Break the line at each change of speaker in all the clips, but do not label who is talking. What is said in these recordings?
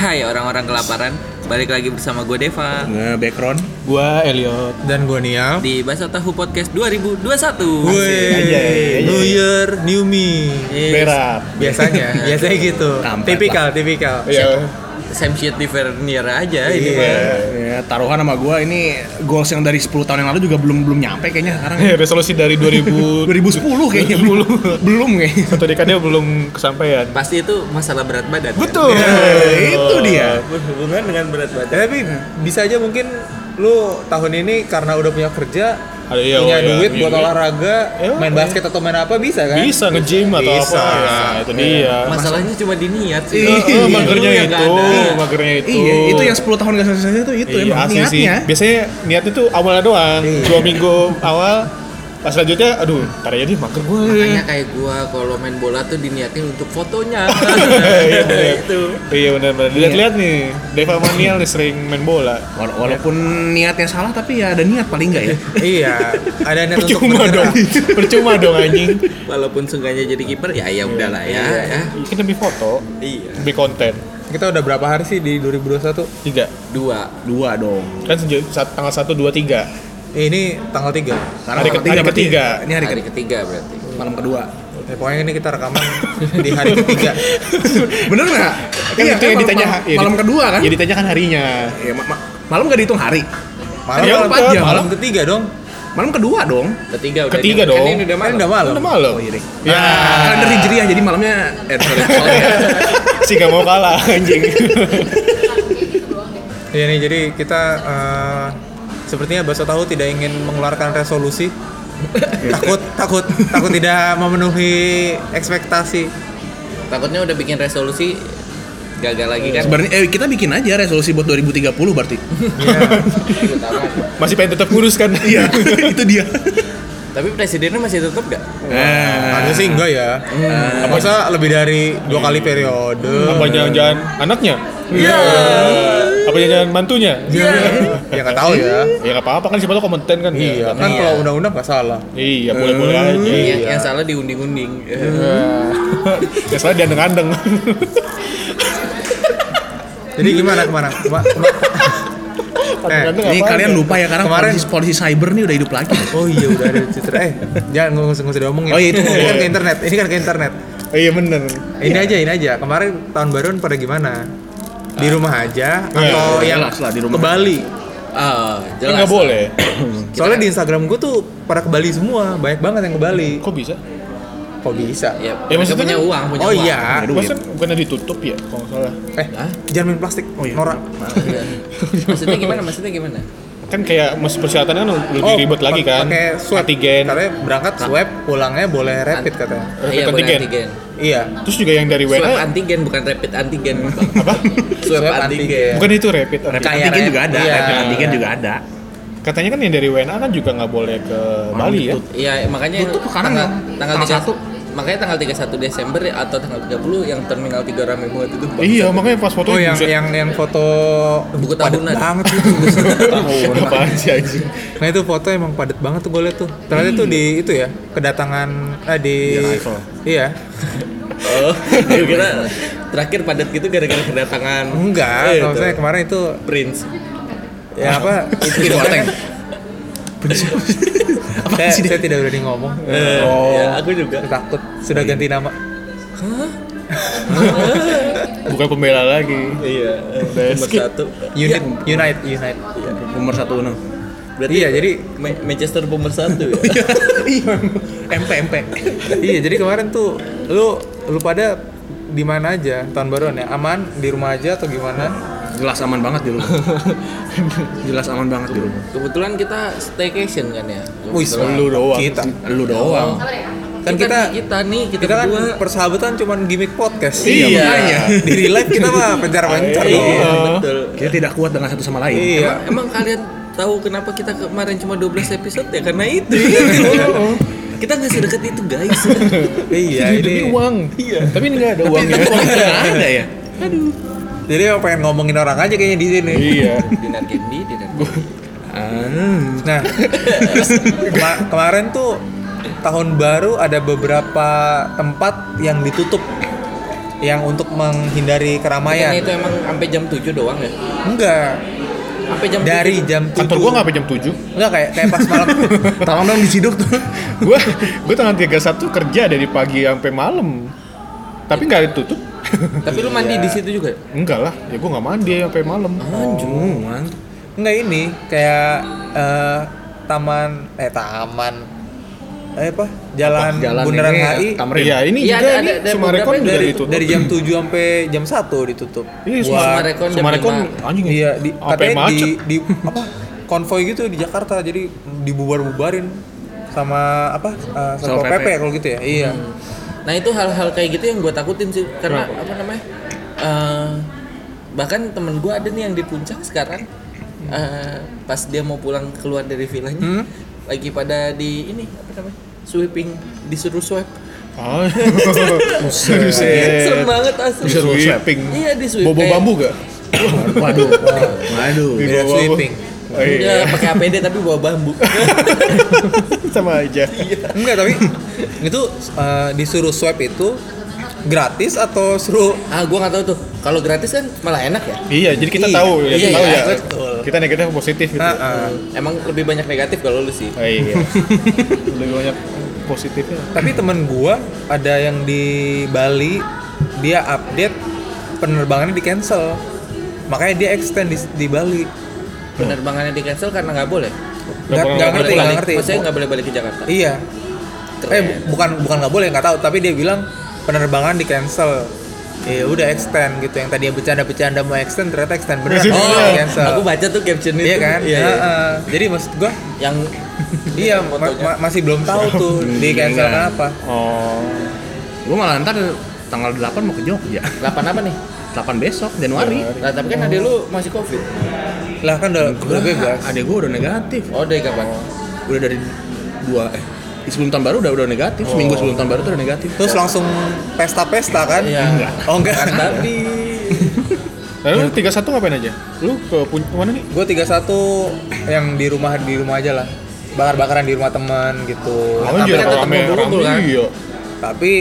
Hai orang-orang kelaparan, balik lagi bersama gue Deva
Nge background
Gua Elliot
dan gue Nial.
di Bahasa Tahu Podcast 2021.
Anjay.
Wih, New Year, New Me.
Yes.
berap
Biasanya, biasanya gitu.
Kampret
Tipikal, tipikal.
Iya
Same shit different year aja ini.
Iya.
ya, taruhan sama gua ini goals yang dari 10 tahun yang lalu juga belum belum nyampe kayaknya sekarang ya.
Iya, Resolusi dari 2000
2010 kayaknya belum belum kayaknya
Satu dekade belum ya. kesampaian
Pasti itu masalah berat badan. kan?
Betul
Eh, itu dia
Berhubungan dengan berat badan.
Tapi bisa aja mungkin lu tahun ini karena udah punya kerja,
Ada- iya,
punya
iya,
duit
iya,
buat
iya.
olaraga,
Iya,
main
iya.
basket atau main apa bisa kan?
Bisa nge-gym atau
Bisa. Iya.
apa Nah, Itu dia
Iya.
Masalahnya cuma di niat sih.
Eh, eh,
Lu
Magernya
yang nggak
itu
ada.
Magernya itu
iya itu yang 10 tahun gak selesai itu itu
Iya,
emang
asli sih.
niatnya
Biasanya niatnya tuh awalnya doang
Iya.
Dua minggu awal Pas selanjutnya, aduh, ntar aja deh mager gue
Makanya kayak gua kalau main bola tuh diniatin untuk fotonya.
Iya, bener.
itu.
Iya benar-benar. Lihat-lihat nih, Deva Manial nih sering main bola.
Wala- walaupun niatnya salah tapi ya ada niat paling enggak ya
iya, ada niat untuk
Percuma dong,
bergerak.
percuma dong anjing.
Walaupun sungguhnya jadi kiper ya ya udahlah ya. ya.
Ini demi foto,
Iya.
demi konten.
Kita udah berapa hari sih di 2021?
Tiga.
Dua.
dua dong
Kan sejak saat tanggal 1, 2, 3
Eh, Ini tanggal 3.
sekarang orang
Hari ke- hari
berarti
ketiga.
ini hari
Hari
ketiga
ketiga berarti.
malam kedua
Eh, pokoknya ini kita rekaman di hari ketiga.
Iya,
bener nggak Iya,
Kan itu yang
malam-
ditanya
malam,
ya,
malam
di-
kedua kan
Ya ditanya kan harinya
Iya, ma- ma- malam gak dihitung hari
Malam,
Ya
malam,
udah,
malam,
malam.
ketiga dong.
malam kedua dong
Ketiga udah.
Ketiga
Kan
dong.
ini udah
Kan
malam.
udah malam.
Udah malam
Oh, iya deh.
Ya
Ah, kalender hijriah jadi malamnya eh sorry, sorry ya.
Si gak mau kalah anjing
Iya nih, jadi kita eh, sepertinya bakso tahu tidak ingin mengeluarkan resolusi. takut, takut, takut tidak memenuhi ekspektasi.
Takutnya udah bikin resolusi gagal lagi kan.
Sebenarnya eh, kita bikin aja resolusi buat 2030 berarti.
Iya.
Masih pengen tetap kurus kan
Iya, itu dia.
Tapi presidennya masih tetap gak?
Nah.
Harusnya sih enggak ya. Masa lebih dari dua kali periode.
Apa jangan-jangan anaknya?
Iya.
Apa jangan-jangan mantunya?
Iya. Ya nggak tahu ya.
Ya gak apa-apa kan siapa tau komenten kan
Iya,
Ya,
kan
Iya.
kalau undang-undang nggak salah.
Iya boleh-boleh aja Iya.
Yang, yang salah diunding-unding.
Ya salah diandeng-andeng
Jadi gimana kemana? Kema- kema- eh,
Ini kalian lupa ya karena
Kemarin-
polisi, polisi cyber nih udah hidup lagi.
oh iya udah ada citra. Eh, jangan nggak usah nggak usah diomongin.
Oh iya, itu
ini kan ke internet. Ini kan ke internet.
Iya bener
Ini aja, ini aja. Kemarin tahun baruan pada gimana? Di rumah aja
Iya,
atau yang
jelas lah, di rumah
ke Bali?
Ah,
Kan
jelas.
gak boleh
Soalnya di Instagram gue tuh pada ke Bali semua, banyak banget yang ke Bali.
Kok bisa?
Kok bisa?
Ya,
Ya,
mereka
maksudnya
punya
kan-
uang, punya
Oh
uang.
iya.
Aduh,
Maksudnya bukannya ditutup ya kalau nggak salah
Eh,
Hah?
jangan main plastik.
Oh iya.
Norak.
Iya. Maksudnya gimana? Maksudnya gimana?
Kan kayak mas persyaratannya kan lebih ribet lagi kan
Oh, Pakai swab.
Antigen
Katanya berangkat swab, pulangnya boleh rapid katanya.
Rapid
iya, boleh
antigen.
antigen.
Iya.
Terus juga yang dari
Swab
WNA
antigen bukan rapid antigen.
Apa?
Swab
Swab
antigen.
Bukan itu rapid antigen.
Rapid
Kayak
antigen
rep-
juga ada,
iya.
rapid antigen juga ada.
Katanya kan yang dari WNA kan juga nggak boleh ke Bali ya.
Iya, makanya
Tutup sekarang
tanggal,
ya?
tanggal 31
Tanggal
makanya tanggal 31 Desember atau tanggal 30 yang terminal 3 rame banget itu. Bang.
Iya, makanya pas foto
Oh yang yang yang foto
Buku
padet
tahunan.
banget itu.
apaan sih anjing.
nah itu foto emang padat banget tuh gue liat tuh. Ternyata tuh di itu ya kedatangan eh, di
Eiffel.
iya
Oh, gue kira terakhir padat gitu gara-gara kedatangan
enggak.
Eh,
kalau
itu.
saya kemarin itu
Prince.
ya apa?
Itu oteng. Apa
saya,
sih dia?
saya tidak berani ngomong. Iya.
Eh,
Oh.
ya, aku juga.
Takut sudah ganti nama.
Bukan pembela lagi.
Iya,
Udah
nomor
skip.
satu.
Unit Unite Unite.
Nomor satu enam.
Berarti
Iya, jadi
Ma- Manchester pemersatu ya.
MP MP.
iya jadi kemarin tuh lu lu pada di mana aja tahun baruan ya aman di rumah aja atau gimana
Jelas aman banget di rumah. Jelas aman banget di rumah.
Kebetulan kita staycation kan ya. Oh,
Wih,
Lu doang.
kita
Lu doang.
kan kita
kita nih kita,
kita kan
berdua.
persahabatan cuman gimmick podcast
Iya,
makanya. di real life kita mah pencar pencar
Iya.
doang
betul.
Kita tidak kuat dengan satu sama lain.
iya
Emang kalian tahu kenapa kita kemarin cuma 12 episode ya? Karena itu. kita nggak sedekat itu guys.
iya
Demi
ini
uang. Iya. Tapi ini nggak ada uangnya.
Uang kita Kan nggak ada ya.
jadi emang pengen ngomongin orang aja kayaknya di sini
Iya.
dinar candy, dinar.
Ah,
nah kema- kemarin tuh tahun baru ada beberapa tempat yang ditutup yang untuk menghindari
Bukannya
keramaian.
itu emang sampai jam 7 doang ya?
Enggak.
Sampai jam
Dari jam 7.
Kantor gua nggak sampai jam 7
Enggak kayak kayak pas malam.
Tolong dong diciduk tuh.
Gua gua tanggal 31 kerja dari pagi sampai malam. Tapi nggak ditutup.
7. Tapi lu
Iya.
mandi di situ juga?
Enggak lah, ya gua nggak mandi sampai malam.
Cuman
Enggak ini kayak eh, taman eh taman eh apa? Jalan,
jalan
Bundaran
ini,
HI
Tamrin.
Iya, ini
Iya,
juga
ada-
ini
ada- ada
Sumarekon
beberapa
juga
dari-
ditutup.
dari jam 7 sampai jam 1 ditutup.
Iya,
Buat-
Sumarekon jam
Sumarekon
lima.
anjing. ya.
Iya, di,
Sampai
katanya
macet.
di, di apa konvoy gitu di Jakarta, jadi dibubar-bubarin sama apa uh,
Satpol
satpol
PP.
pp kalau gitu ya. Iya.
Nah itu hal-hal kayak gitu yang gue takutin sih karena apa namanya? eh, bahkan temen gue ada nih yang di puncak sekarang eh, pas dia mau pulang keluar dari vilanya lagi pada di ini apa namanya sweeping disuruh swab
Ah. Buset.
serem banget asli
Disuruh sweeping.
iya di sweep
Bobo
Kayak-
bambu gak?
waduh. Waduh.
Di
Beda
bawah-
sweeping.
Oh,
Iya,
iya.
pakai APD tapi bawa bambu.
Sama aja.
Enggak, tapi itu uh, disuruh swab itu gratis atau suruh
ah, gua nggak tahu tuh. Kalau gratis kan malah enak ya.
Iya, jadi kita
Iya,
tahu ya,
iya,
tahu ya.
betul.
Kita negatif positif gitu.
Ah, ah.
Emang lebih banyak negatif kalau lu sih.
Oh, iya. Lebih banyak positifnya.
Tapi temen gua ada yang di Bali, dia update penerbangannya di cancel. Makanya dia extend di, di Bali.
Penerbangannya di cancel karena nggak boleh.
Nggak
boleh
Boleh
nggak ngerti,
balik
nggak
balik.
ngerti.
Maksudnya nggak boleh balik ke Jakarta.
Iya.
Keren.
Eh bu- bukan bukan nggak boleh nggak tahu, tapi dia bilang penerbangan di cancel. Ya udah extend gitu yang tadi bercanda-bercanda mau extend ternyata extend beneran
Masih
oh,
Oh,
Iya.
cancel.
aku baca tuh caption itu.
Iya kan?
Iya.
Nah,
iya.
eh, jadi maksud gua
Yang
iya ma- ma- masih belum tahu tuh di cancel
Iya.
kenapa.
Oh.
Gue malah ntar tanggal 8 mau ke Jogja.
8 apa nih?
8 besok Januari.
Nah, tapi kan adek lu masih Covid.
Lah kan udah udah bebas.
Adek gue udah negatif.
Oh, dari kapan?
Udah dari dua eh sebelum tahun baru udah udah negatif. Seminggu sebelum tahun baru tuh udah negatif.
Oh. Terus langsung pesta-pesta kan?
Iya.
Oh enggak.
Kan tadi.
Lalu lu 31 ngapain aja? Iya. Lu ke pun mana nih?
Gue 31 yang di rumah di rumah aja lah. Bakar-bakaran di rumah teman gitu.
Makanya
tapi
jarang
kan tetap
rame,
ngumpul
rame,
kan?
Iya.
Tapi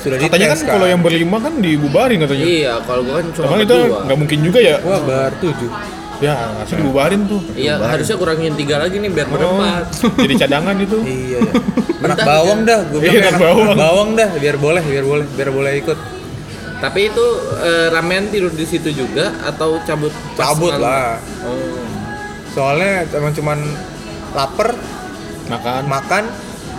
sudah dites
Katanya kan kalau yang berlima kan dibubarin katanya.
Iya, kalau gua kan cuma
Emang itu
berdua.
nggak mungkin juga ya?
gua bertujuh.
Ya, harusnya dibubarin tuh.
Iya, harusnya kurangin tiga lagi nih biar
Oh,
berempat.
jadi cadangan itu.
Iya ya. Anak
Entah
bawang dah, gue
Iya,
bilang ya.
anak bawang.
bawang dah, biar boleh, biar boleh, biar boleh ikut.
Tapi itu eh, ramen tidur di situ juga atau cabut? pas
Cabut
malam?
lah.
Oh.
Soalnya emang cuman lapar,
Makan.
makan,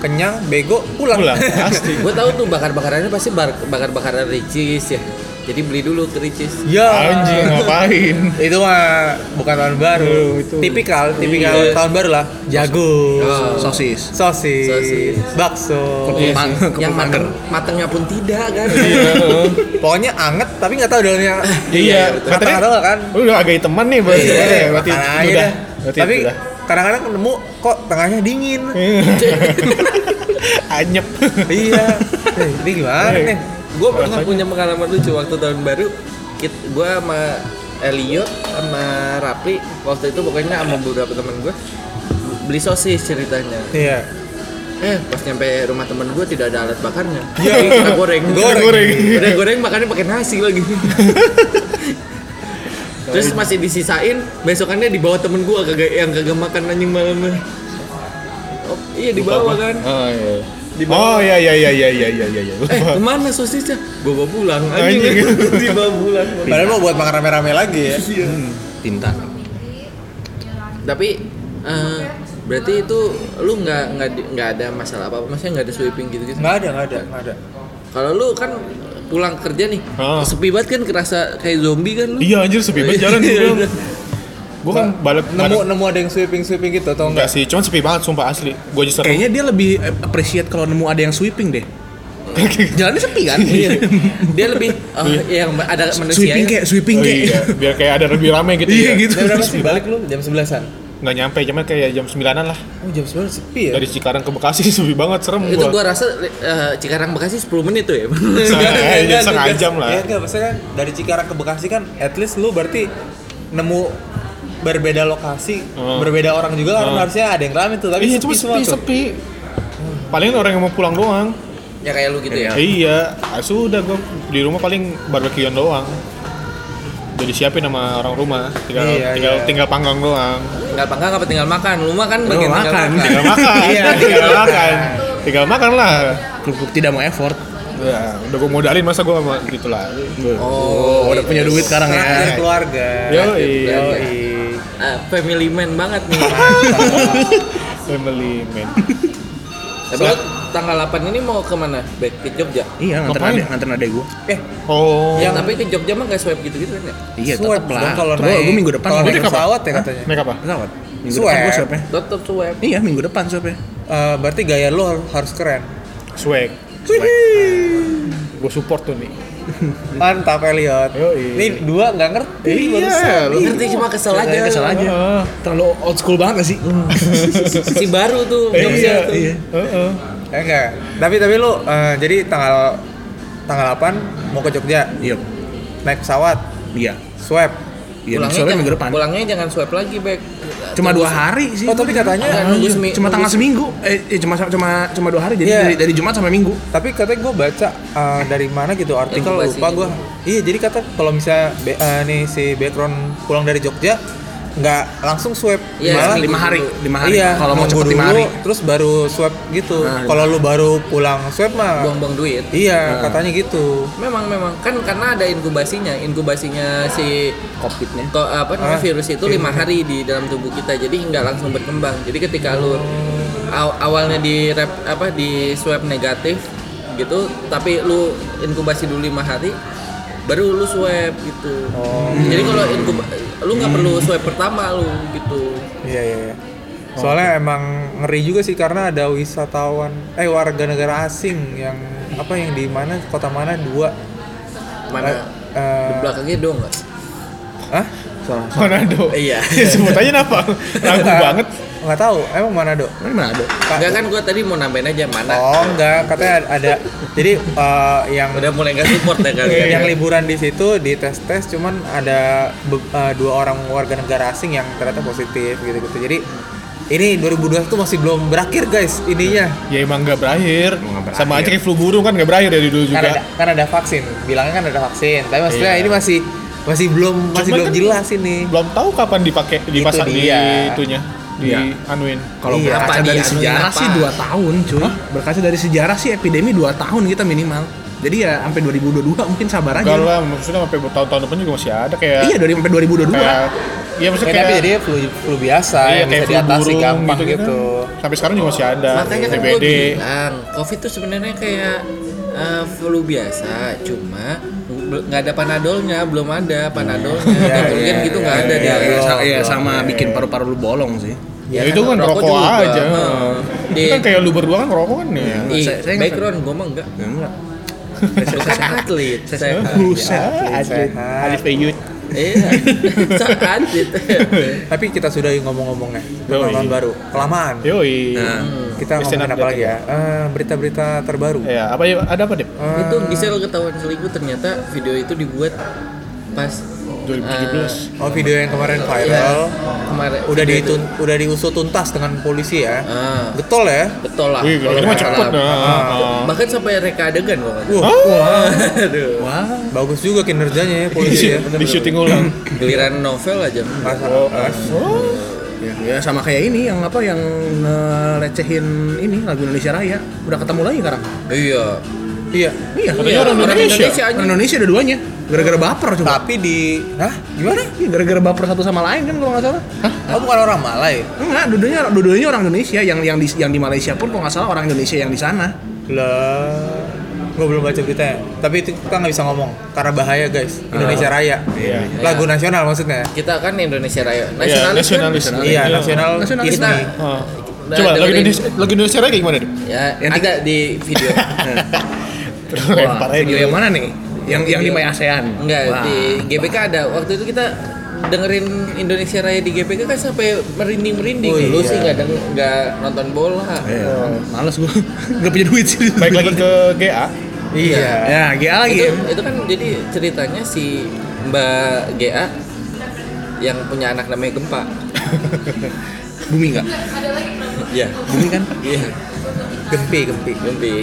kenyang, bego, pulang.
Pulang, pasti.
Gue tahu tuh bakar-bakarannya pasti bar- bakar-bakaran ricis ya. Jadi beli dulu ke ricis.
ya.
Anjing, ngapain?
Itu mah bukan tahun baru.
Aduh, itu.
Tipikal, tipikal
Iya.
tahun baru lah. Jagung.
Oh.
Sosis.
sosis,
Sosis. Iya.
bakso.
Mang-
Yang mateng,
kepung mager.
matengnya pun tidak kan.
Iya. Pokoknya anget tapi nggak tahu dalamnya.
Iya, katanya
Kata-kata kan.
Lu udah agak teman nih berarti.
Iya,
Eh, berarti
makan aja
udah.
dah.
Berarti
Tapi
udah.
kadang-kadang nemu kok tengahnya dingin.
Anyep.
iya. Eh, Ini gimana
Eh.
nih?
gue pernah punya pengalaman lucu waktu tahun baru. Gue sama Elliot sama Rapli waktu itu pokoknya sama beberapa teman gue beli sosis ceritanya.
Iya.
Eh, pas nyampe rumah temen gue tidak ada alat bakarnya.
Iya.
udah goreng.
Goreng.
Goreng.
Udah goreng makannya pakai nasi lagi. Terus masih disisain, besokannya dibawa temen gue kagak yang kagak makan anjing malamnya. Oh, iya dibawa kan.
Oh iya.
Dibawa.
Oh iya iya iya iya iya iya iya.
Eh, kemana sosisnya? Gue bawa pulang anjing.
Anjing.
dibawa pulang.
Padahal mau buat makan rame-rame lagi ya.
Tinta.
Tapi eh, berarti itu lu nggak nggak di- nggak ada masalah apa apa maksudnya nggak ada sweeping gitu gitu
Nggak ada, nggak ada, nggak ada.
kalau lu kan pulang kerja nih
Ah.
sepi banget kan kerasa kayak zombie kan lu
Iya anjir sepi banget jalan
Iya,
gua.
udah.
Gua kan balik
Nemu nemu ada yang sweeping sweeping gitu atau enggak?
enggak sih, cuman sepi banget sumpah asli. Gua aja seru.
Kayaknya dia lebih eh, appreciate kalau nemu ada yang sweeping deh. Jalannya sepi kan?
Iya.
Iya. dia lebih oh, yang ada manusia
sweeping kayak sweeping
Oh,
kayak.
iya, biar kayak ada lebih rame gitu.
Iya,
ya.
gitu.
Jam berapa sih balik lu? Jam 11-an.
Nggak nyampe cuman kayak jam 9-an lah.
Oh, jam 9 sepi ya.
Dari Cikarang ke Bekasi sepi banget serem
itu
gua.
gua rasa eh, Cikarang Bekasi 10 menit tuh ya
Setengah- eh,
Enggak,
setengah
enggak.
jam lah.
Iya, enggak, maksudnya kan dari Cikarang ke Bekasi kan at least lu berarti nemu berbeda lokasi,
Hmm.
berbeda orang juga kan harusnya ada yang rame tuh, tapi
Iya,
sepi
cuma
semua
sepi Hmm.
tuh.
sepi. Paling orang yang mau pulang doang.
ya kayak lu gitu ya
Iya, ah, sudah gue di rumah paling barbekyuan doang. Udah disiapin sama orang rumah, tinggal
Iya,
tinggal,
iya.
tinggal panggang doang.
nggak panggang apa tinggal makan lu makan
Lu
bagian tinggal
makan.
makan,
Tinggal makan,
Iya.
tinggal makan, tinggal makan lah.
Klub-klub tidak mau effort.
Ya, udah gue modalin masa gue sama gitu lah.
Oh,
Iya,
udah punya duit sekarang
Serang dari
ya.
keluarga.
Yoi,
Yoi. Ah, family man banget nih
family man.
tapi lu tanggal 8 ini mau kemana back ke Jogja
Iya, nganter
Ngapain?
adek, nganter adek gua.
eh
Oh,
ya tapi ke Jogja mah nggak swipe gitu gitu kan ya
Iya,
Swab
tetep
dong
lah.
kalau
Gua
naik-
gua minggu depan
kalau
gua
naik
naik
pesawat ya katanya.
make apa?
pesawat. Minggu
Swab.
depan gua swab ya.
tetap swipe
Iya, minggu depan swab ya.
Eh, berarti gaya lu har- harus keren.
Swag. Gue support tuh nih.
Mantap Elliot.
Yoi.
Ini dua nggak ngerti.
Iya,
barusan.
lu
ngerti cuma kesel aja
Saya kesel aja. Hmm.
Heeh.
Oh, Terlalu old school banget gak sih?
si baru tuh
Eh,
Jogja
iya,
tuh
iya. Heeh.
Eh, Enggak. Tapi tapi lu eh, jadi tanggal tanggal 8 mau ke Jogja
Iya.
naik pesawat
Iya.
swab.
Iya,
pulangnya
swabnya
jangan-
minggu depan.
pulangnya jangan swipe lagi back
Cuma dua hari sih.
Oh tapi
kan
Enggak,
katanya
Iya, nunggu semi-
cuma
nunggu
tanggal seminggu. Eh, eh, cuma cuma cuma dua hari. Jadi
Iya.
dari, dari Jumat sampai Minggu.
tapi katanya gue baca eh, dari mana gitu artikel
Itu
lupa
masih-
gue. Iya jadi kata kalau misalnya be- eh, nih si background pulang dari Jogja nggak langsung swab
Iya,
malah
seminggu
lima hari,
dulu.
lima hari.
Iya,
kalau mau
nunggu
cepet lima
dulu,
hari.
Terus baru swab gitu.
Nah, lima
kalau lu baru pulang swab mah
buang-buang duit
Iya, katanya gitu.
memang memang kan karena ada inkubasinya inkubasinya si
Covidnya.
to, apa namanya
Ah,
virus itu lima hari di dalam tubuh kita jadi nggak langsung berkembang jadi ketika lu aw- awalnya di rep, apa di swab negatif gitu tapi lu inkubasi dulu lima hari baru lu swab gitu
Oh.
jadi kalau inkub- lu nggak perlu swab pertama lu gitu
Iya, iya, iya.
Oh,
Soalnya emang ngeri juga sih karena ada wisatawan eh warga negara asing yang apa yang di mana kota mana dua
mana
Eh, eh,
di belakangnya dong nggak
Hah?
Manado.
iya
Sebut aja kenapa? Ragu banget.
Nggak tahu, emang Manado.
Ini mana ada?
Enggak kan gua tadi mau nambahin aja
Nah.
mana
Oh, enggak, katanya ada- ada. Jadi eh, yang
udah mulai nggak support ya
Iya,
kalian
yang liburan di situ di tes tes cuman ada be- eh, dua orang warga negara asing yang ternyata positif gitu gitu jadi ini 2021 tuh masih belum berakhir guys ininya
Ya emang nggak berakhir.
nggak berakhir.
Sama aja kayak flu burung kan nggak berakhir dari
kan
dulu
ada
juga. Iya.
kan ada vaksin bilangnya kan ada vaksin tapi maksudnya ini masih masih belum masih
Cuman
belum
kan-
jelas ini
Belum tahu kapan dipakai dipasang di
dia.
itunya di
Iya.
anuin.
Kalau
Iya.
berkaca
Apa
dari
dia?
sejarah
Apa?
sih 2 tahun cuy Berkaca dari sejarah sih epidemi 2 tahun kita minimal Jadi ya sampai 2022 mungkin sabar aja
Enggak lah, maksudnya sampai tahun-tahun depan juga masih ada kayak
Iya dari sampai 2022
kayak Iya maksudnya
Ya,
kayak
tapi jadi flu, flu biasa
iya,
yang
kayak
bisa
flu
diatasi
burung
gampang gitu,
kan. Sampai sekarang juga masih ada.
Makanya kan gue
TBD.
bilang COVID tuh sebenarnya kayak eh, flu biasa, cuma bel- nggak ada panadolnya, belum ada panadolnya.
Iya,
Kayak urgen
iya,
gitu
iya,
nggak ada
Iya,
dia.
iya, sa-
Blok,
iya,
blok,
sama bikin paru-paru lu bolong sih
Ya, itu kan rokok,
juga.
aja.
Heeh.
Itu
Di-
kan kayak lu berdua kan ngerokok kan ya.
Ih,
Saya- saya nggak-
background gue mah enggak.
Ya enggak
Saya kan atlet. Saya
Buset
atlet.
Alif Eyut.
Iya. Saya atlet.
tapi kita sudah ngomong-ngomongnya tentang
Yoi.
tahun baru kelamaan
Yoi.
Nah,
kita
Bisa
ngomongin apa
update
lagi ya Eh, berita-berita terbaru
Ya, apa yuk? Ada apa, Dep?
Eh,
itu Gisel ketahuan selingkuh ternyata video itu dibuat pas
2017.
oh video yang
eh,
kemarin
iya,
viral
kemarin
udah
video itu.
ditun udah diusut tuntas dengan polisi ya
Ah,
getol ya
betul lah.
Wih, kalau ini mah
Salah.
cepet dah. Heeh.
Bahkan sampai reka adegan kalau nggak salah.
Wah,
Aduh.
wah
bagus juga kinerjanya ya polisi ya
Di syuting ulang.
Giliran novel aja.
Masa-
Oh,
eh,
oh.
ya, ya, sama kayak ini yang apa yang ngelecehin ini lagu Indonesia Raya udah ketemu lagi sekarang
Iya.
iya
iya
Katanya orang Indonesia.
Orang
aja.
Indonesia ada duanya gara-gara baper coba
tapi di hah gimana
Iya, gara-gara baper satu sama lain kan kalau nggak salah
oh bukan orang Malay
Enggak, duduknya duduknya orang Indonesia yang yang di yang di Malaysia pun kalau nggak salah orang Indonesia yang di sana.
lah gue belum baca beritanya tapi itu kita nggak bisa ngomong karena bahaya guys
Ah.
Indonesia Raya
Iya.
lagu nasional maksudnya
Kita kan Indonesia Raya.
Iya,
Nasionalis. kan?
nasionalis.
iya nasional
Nasional
Disney.
Kita
Heeh.
Nah,
Coba lagu
dengerin.
Indonesia, lagu Indonesia Raya kayak gimana, Dep?
Ya,
Yang di-
ada di video.
Terus lempar aja
video
dulu.
yang mana nih? Yang yang
Iya.
di My ASEAN.
Enggak,
E Wah.
di GBK ada. Waktu itu kita dengerin Indonesia Raya di GBK kan sampai merinding-merinding.
Oh,
Lu
iya.
sih nggak deng- nggak nonton bola.
Iya, males gua. Enggak punya duit sih.
Baik lagi ke GA.
iya
Ya, GA lagi.
Itu, itu kan jadi ceritanya si Mbak GA yang punya anak namanya Gempa.
Bumi enggak?
Iya.
Bumi kan?
Iya.
Gempi, gempi.
Gempi.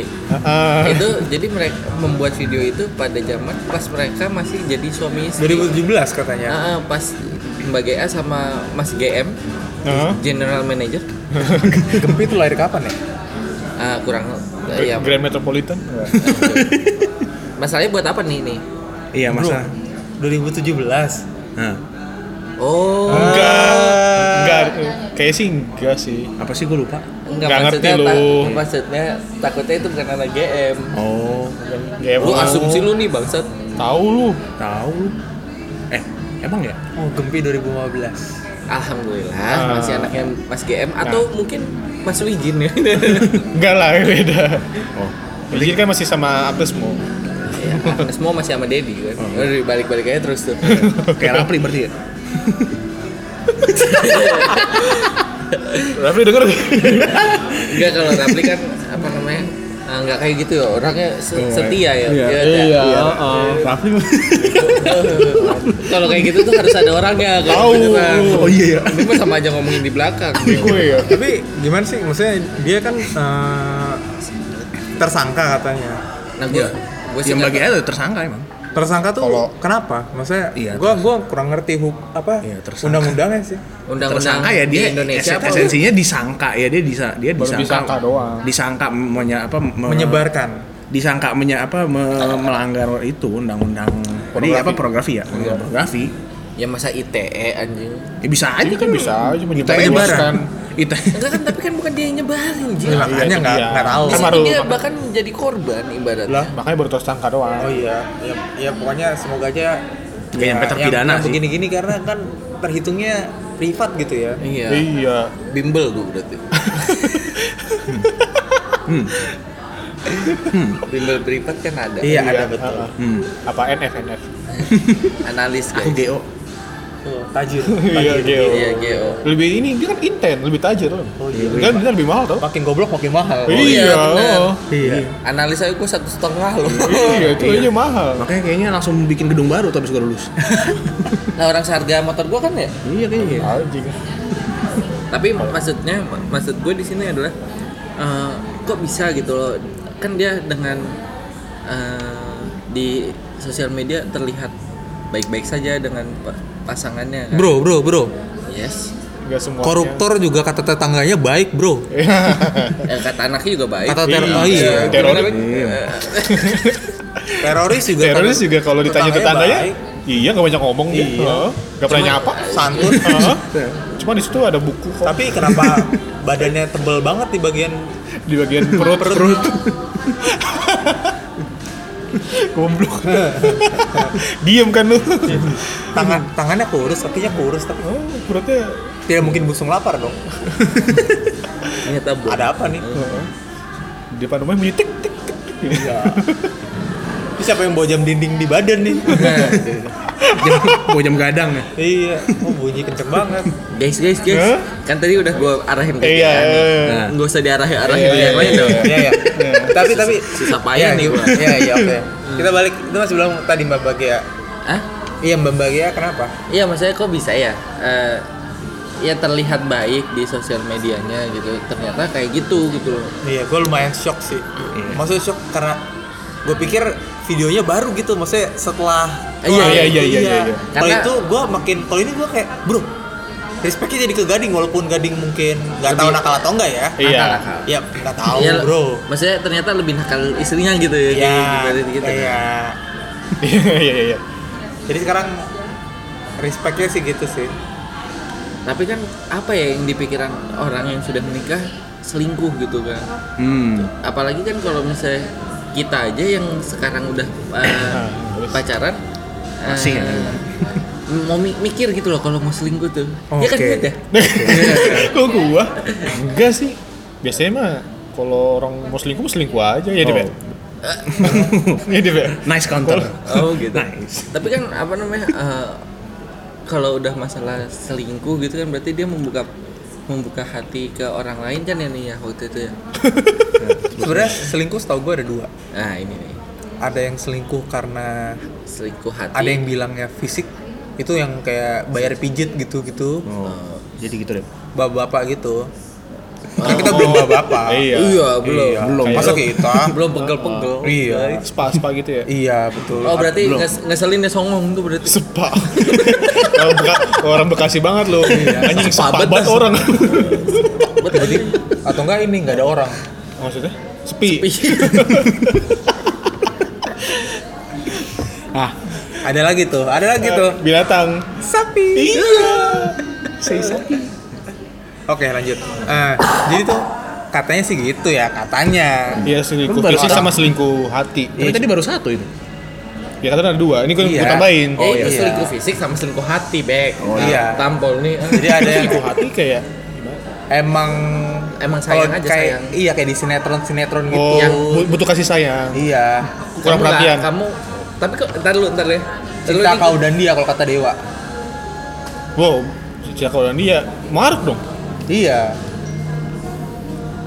Ah,
itu jadi mereka membuat video itu pada zaman pas mereka masih jadi suami istri.
2017
ya?
katanya.
Ah, ah, pas Mbak GA sama Mas GM
ah.
general manager
Gempi itu lahir kapan ya?
ah, kurang eh, ya
Grand Metropolitan.
masalahnya buat apa nih ini
Iya masa.
2017.
Nah,
oh
Enggak. Enggak. eh, Kayaknya sih enggak sih.
apa sih gue lupa?
enggak
Nggak ngerti
maksudnya ta-
lu.
maksudnya takutnya itu bukan anak GM
Oh,
Ya,
lu
emang
asumsi lu nih bangsat
Tahu lu.
tahu. lu. Eh, emang ya?
Oh, Gempi 2015.
alhamdulillah
Ah. Nah.
masih anaknya Mas GM atau mungkin Mas Wijin ya
Enggak lah, beda.
Oh,
Jadi kan masih sama Apes mau.
Ya, semua masih sama Dedi kan
Oh.
Udah balik-balik aja terus tuh
kayak Rapli berarti ya?
Rafli denger.
Enggak kalau Rapli kan apa namanya eh, nggak kayak gitu ya orangnya
Oh,
se-
iya.
setia ya Dia-
Iya.
dia-
Rapli.
kalau kayak gitu tuh harus ada orangnya kalau
Tahu.
beneran.
oh iya ya.
ini mah sama aja ngomongin di belakang
Di gue ya.
Tapi gimana sih? Maksudnya dia kan eh, tersangka katanya.
nah gue gue sih
Iya. Yang
nggak
bagi aja tersangka emang.
Tersangka tuh
Kalau-
kenapa? Maksudnya
Iya,
gua gua kurang ngerti huk apa
Iya, tersangka.
undang-undangnya sih.
tahu. undang-undang
Tersangka ya dia
di Indonesia
esen-
apa
esensinya disangka ya dia disa, dia
Baru
disangka.
disangka doang.
Disangka menya, apa me-
Menyebarkan.
disangka menya, apa me- melanggar itu undang-undang tadi
Pornografi. Iya.
apa pornografi ya? Undang-undang Pornografi.
ya masa ITE anjing
Ya, bisa aja
Ini kan bisa aja Iya, menyebarkan.
Penyebaran.
Itu
enggak kan tapi kan bukan dia yang nyebarin anjing
Ya,
Iya,
makanya
itu
nggak
dia.
nggak tahu.
Di
Kan
sini
baru-
dia bahkan jadi korban ibaratnya
Lah, makanya baru tersangka doang.
Oh iya, ya, ya pokoknya semoga aja ya,
Nggak nyampe terpidana
yang
sih.
begini-gini karena kan terhitungnya privat gitu ya.
iya
Iya.
bimbel gue berarti bimbel privat kan ada
Iya, ada betul.
ah, ah.
Hmm.
Apa NF NF?
analis
Aku
guys
GO.
Tuh, Tajir.
Iya,
gitu.
Geo.
iya Geo
Lebih ini dia kan inten, lebih tajir loh.
Oh, iya.
Kan dia lebih mahal tau.
Makin goblok makin mahal.
iya, bener.
oh.
Iya.
analis aja gue satu setengah loh
Iya, itu aja mahal.
Makanya kayaknya langsung bikin gedung baru tuh abis gue lulus.
nah orang seharga motor gue kan ya
iya kayaknya.
Anjing.
tapi maksudnya maksud gue di sini adalah eh, kok bisa gitu loh kan dia dengan eh, di sosial media terlihat baik-baik saja dengan pa- pasangannya kan?
Bro, bro, bro.
yes
Enggak semua.
Koruptor juga kata tetangganya baik, bro.
Eh, kata anaknya juga baik
Kata ter
Iya.
oh, iya.
Ter- Teroris.
Iya.
teroris juga.
Teroris juga kalau ditanya tetangganya,
baik.
iya nggak banyak ngomong dia. Heeh. Nggak pernah nyapa.
santun.
Heeh. Cuma di situ ada buku kok
Tapi kenapa badannya tebel banget di bagian
di bagian perut.
perut?
Goblok. Diem kan lu.
Tangan Iya. tangannya kurus, kakinya kurus tapi
Oh, perutnya
tidak mungkin busung lapar dong.
ternyata bro.
Ada apa nih?
di depan rumah bunyi tik tik. tik.
Iya. Ini siapa yang bawa jam dinding di badan nih?
Jam, bawa jam gadang ya.
iya, oh bunyi kenceng banget.
guys guys guys
Hah?
kan tadi udah gue arahin ke
Iya.
Tian.
iya.
Nah, nggak usah diarahin arahin
Iya,
ke yang
iya,
lain
iya.
dong
Iya, iya. Tapi tapi
susah payah nih gua.
Iya, iya, oke. Kita balik itu masih belum tadi Mbak Bagia.
Hah?
Iya, Mbak Bagia kenapa?
Iya maksudnya kok bisa ya? Eh, ya terlihat baik di sosial medianya gitu. Ternyata kayak gitu gitu loh.
Iya, gue lumayan shock sih.
Iya.
Maksudnya shock karena gue pikir videonya baru gitu, maksudnya setelah
Eh, iya,
setelah
iya,
itu,
iya, iya, iya.
Kalau
Karena-
itu gue makin, kalau ini gue kayak, bro, respectnya jadi ke Gading walaupun Gading mungkin nggak tahu
Lebih-
nakal atau enggak ya.
Iya.
Nakal-nakal.
Iya, nggak tahu
Iya,
bro.
Maksudnya ternyata lebih nakal istrinya gitu ya.
Iya,
dibanding kita.
iya.
kan.
Iya iya iya.
Jadi sekarang respectnya sih gitu sih.
Tapi kan apa ya yang di pikiran orang yang sudah menikah selingkuh gitu kan.
Hmm.
Apalagi kan kalau misalnya kita aja yang sekarang udah eh,
Ah,
pacaran eh,
Masih ya?
mau mi- mikir gitu loh kalau mau selingkuh tuh. Ya kan
Oke.
beda.
Kok gua? Enggak sih. Biasanya mah kalau orang mau selingkuh, mau selingkuh aja ya, Debet. Ya, Debet.
Nice counter.
Oh gitu.
Nice.
Tapi kan apa namanya eh, kalau udah masalah selingkuh gitu kan berarti dia membuka membuka hati ke orang lain kan ya nih ya waktu itu ya.
Sebenarnya selingkuh setahu gue ada dua.
Nah ini nih
Ada yang selingkuh karena
selingkuh hati.
ada yang bilangnya fisik itu yang
Oh.
kayak bayar pijit gitu-gitu
Oh, jadi gitu deh.
bapak-bapak gitu Kan kita belum bapak-bapak.
Iya.
Iya, belum.
Belum. Masa kita?
Belum pegel-pegel.
Iya.
Spa-spa gitu ya.
Iya, betul.
Oh, berarti nges- ngeselin ya songong tuh berarti.
Sepa. orang, Beka- orang Bekasi banget loh. Anjing
Sepa
sepa
banget.
banget orang.
Betul.
Atau enggak ini enggak ada orang.
Maksudnya? Sepi.
Iya.
Ah,
Ada lagi tuh, ada lagi tuh.
binatang.
Sapi.
Iya. Saya sapi.
Oke, lanjut. Eh, jadi tuh katanya sih gitu ya, katanya.
Iya
Lu
selingkuh
baru
fisik
tahu.
sama selingkuh hati.
Tapi
Iya,
tadi baru satu itu.
Ya kan ada dua. Ini gue
Iya.
tambahin.
Oh,
iya.
itu selingkuh fisik sama selingkuh hati, Bek.
Oh, iya.
Tampol nih. ah.
Jadi ada yang
Selingkuh hati kayak
emang
Emang sayang
kalau
aja,
kayak,
sayang.
Iya, kayak di sinetron-sinetron gitu.
oh, bu- butuh kasih sayang.
Iya.
Kamu
Kurang
nggak-
perhatian.
Kamu tapi kok entar dulu, entar deh. Ntar dulu
Cinta
ini-
kau dan dia kalau kata Dewa.
Wow, sejak kalau dia maruk dong.
Iya.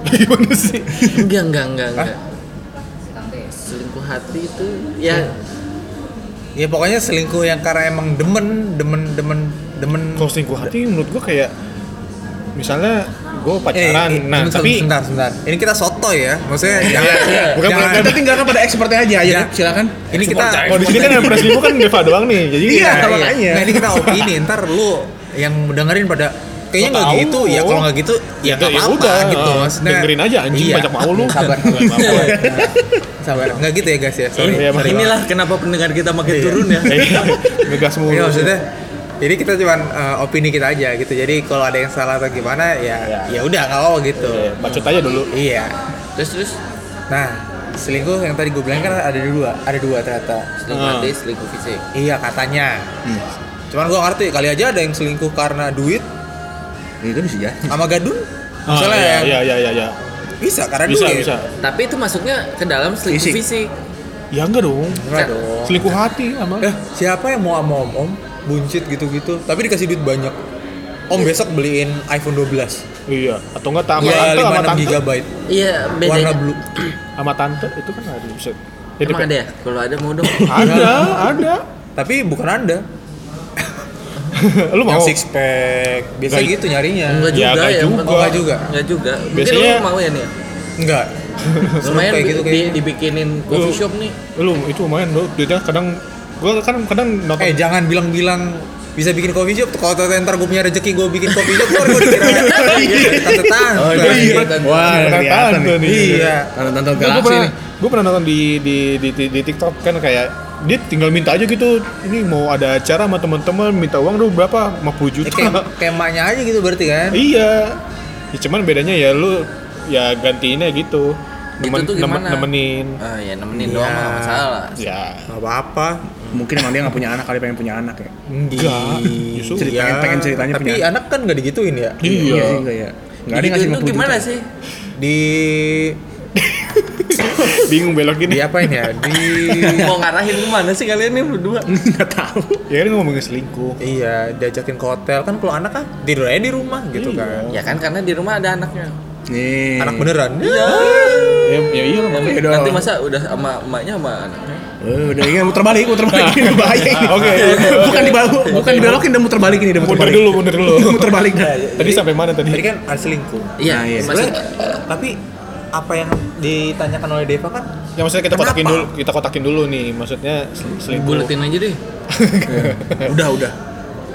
Gimana sih?
Enggak, enggak, enggak,
Hah?
enggak. Selingkuh hati itu ya
Ya pokoknya selingkuh yang karena emang demen, demen, demen, demen.
Kalau selingkuh hati menurut gue kayak misalnya gue pacaran,
Eh, eh,
nah
bentar,
tapi Iya,
sebentar, sebentar. Ini kita soto ya, maksudnya jangan,
Bukan
jangan-
Kita tinggalkan pada expertnya aja ya. Silakan.
Ini kita,
kalau di sini kan yang pernah selingkuh kan Deva doang nih, jadi ya,
Iya,
kayak-
makanya.
Nah, ini kita opini, ntar lu yang dengerin pada kayaknya
Nggak
nggak
tahu.
gitu, ya kalau nggak gitu ya
Ya,
nggak
ya
apa-apa
udah,
gitu. Maksudnya, Iya.
dengerin aja, anjing, banyak mau lu.
Sabar,
Nggak apa-apa.
sabar. Nggak gitu ya guys ya, sorry.
Iya,
sorry.
maksudnya-
inilah kenapa pendengar kita makin turun ya.
Iya, ngegas mulu.
Iya maksudnya jadi kita cuman eh, opini kita aja gitu. Jadi kalau ada yang salah atau gimana ya ya udah nggak apa-apa gitu.
Iya, bacot aja dulu.
Iya.
Terus terus
Nah, selingkuh yang tadi gue bilang kan ada dua, ada dua ternyata.
selingkuh
Ah.
hati, selingkuh fisik.
Iya katanya. Cuman gua ngerti kali aja ada yang selingkuh karena duit
Itu ya. bisa jadi.
sama gadun.
Ah,
Misalnya
iya,
yang ya?
iya, iya, iya, iya.
bisa karena
Bisa,
duit.
bisa.
Tapi itu masuknya ke dalam selingkuh fisik.
Fisik.
Ya enggak dong.
Enggak dong.
Selingkuh hati emang.
Eh, siapa yang mau sama om-om buncit gitu-gitu tapi dikasih duit banyak. Om besok beliin iPhone 12
Iya, atau enggak Iya. sama
ya,
tante sama
56
tante.
GB
Iya,
warna
bedanya.
blue.
Sama tante itu kan ada bisa. Jadi
Emang ada ya? Kalau ada mau dong.
Ada, ada.
Tapi bukan Anda.
Lu mau?
Yang six pack. Biasa
Nggak-
gitu nyarinya.
Enggak
Ya,
juga ya,
nggak
yang
juga.
penting-
Enggak juga.
Enggak juga. Mungkin lu
Biasanya-
mau ya nih. ya?
Enggak. Seru
Lumayan
kayak
di-
gitu
di-
kayak.
dibikinin coffee shop nih.
Lu itu lumayan lu. Duitnya kadang gua kan kadang
Eh,
nonton
jangan bilang-bilang bisa bikin coffee shop tuh kalau ternyata ntar gue punya rezeki gue bikin coffee shop ntar gue dikira tante tante Ya,
Oh, iya. Wah,
Tante-tante
kelihatan nih.
nih.
iya
Tonton-tonton
gue
galaksi
pernah,
nih.
gua pernah nonton di, di di di di TikTok kan kayak dia tinggal minta aja gitu ini mau ada acara sama teman-teman minta uang dong berapa
Ya,
50 juta
kayak kayak emaknya aja gitu berarti kan
iya ya, cuman bedanya ya lu ya gantiinnya gitu
Itu tuh
nemen-
gimana?
nemenin
Ah, ya nemenin doang
Iya.
nggak masalah.
ya
nggak apa-apa
Mungkin emang dia nggak punya anak kali pengen punya anak ya.
Enggak, justru
Cerita-
Iya.
pengen- pengen ceritanya
tapi
punya.
anak kan nggak digituin ya
Iya sih
iya
enggak ya. Enggak ada yang ngasih
Digituin tuh
50
Gitu, gimana
juta.
sih?
di
bingung belok
di
gini
apain ya di
mau ngarahin kemana sih kalian nih berdua?
Enggak tahu.
ya kan ngomongin selingkuh
iya diajakin ke hotel kan kalau anak kan tidur aja di rumah gitu
Iya.
kan
Ya kan karena di rumah ada anaknya.
Nih.
anak beneran
ya, ya iya lah
Ya,
Iya dong.
nanti masa udah sama emaknya sama anaknya.
Eh, udah ini muter balik, muter balik ini bahaya ini.
Oke,
bukan dibawa, bukan dibelokin dan muter balik ini, udah muter
mundur
balik. Iya,
dulu mundur dulu
muter balik dah.
tadi sampai mana
tadi
tadi
kan ada selingkuh
Iya,
Nah, iya.
maksud-
Sebenarnya, tapi apa yang ditanyakan oleh Deva kan
ya maksudnya kita kotakin
Kenapa?
dulu kita kotakin dulu nih maksudnya sel- selingkuh
buletin aja deh.
Udah, udah.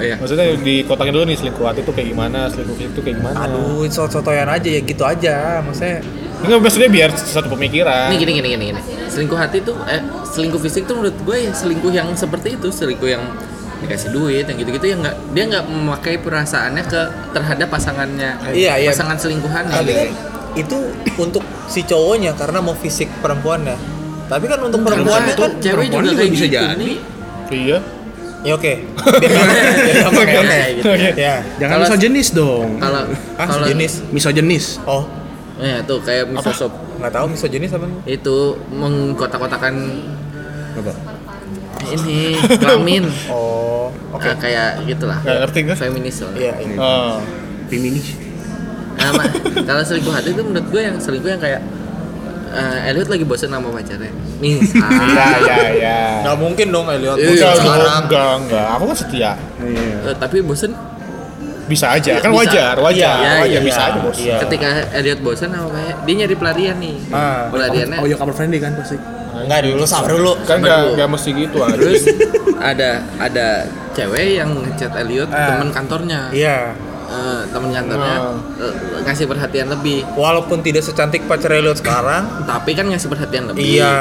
Iya.
maksudnya dikotakin dulu nih selingkuh hati tuh kayak gimana selingkuh fisik tuh kayak gimana
aduh sot-sotoyan aja ya gitu aja maksudnya
enggak maksudnya biar satu pemikiran
Ini gitu. gini gini gini gini. Selingkuh hati tuh eh selingkuh fisik tuh menurut gue ya selingkuh yang seperti itu, selingkuh yang dikasih duit yang gitu-gitu yang nggak dia nggak memakai perasaannya ke terhadap pasangannya
Iya, iya.
pasangan gitu. selingkuhannya
tapi kan itu untuk si cowoknya karena mau fisik perempuannya tapi kan untuk perempuannya
itu
kan
Nah, cewek
perempuan
juga
juga
kayak
bisa
gitu
jadi.
nih.
iya
ya oke Ya, oke
Kayak
oke
gitu.
ya
Jangan
Kalau-
misoginis dong.
Kalau
ah
kalau
jenis
Misoginis.
oh
ya tuh kayak misosop
nggak tahu misoginis apa nih?
itu mengkotak-kotakan
Apa?
ini kelamin
oh oke
Nah, kayak gitulah
nggak ngerti gue
feminis lah
iya iya.
Oh.
Feminis.
Nah, Ma, kalau selingkuh hati itu menurut gue yang selingkuh yang kayak eh Elliot lagi bosan sama pacarnya. ah. Misal.
Iya, iya, iya.
nggak mungkin dong Elliot
Iya,
Enggak,
sekarang.
enggak, enggak. Aku kan setia.
Iya.
Eh, tapi bosan
Di bisa aja kan
Bisa.
wajar wajar
Iya,
wajar
iya.
bisa aja bos
Iya.
Ketika Elliot bosan apa kayak dia nyari pelarian nih.
Ah.
Pelariannya.
Oh, ya cover friendly kan pasti.
Enggak dulu, sabar dulu.
kan nggak nggak mesti gitu aja
Terus ada ada cewek yang ngechat Elliot
Ah.
teman kantornya.
Iya. Ah.
Eh, teman kantornya eh, ngasih perhatian lebih.
Walaupun tidak secantik pacar Elliot sekarang.
Tapi kan ngasih perhatian lebih.
Iya.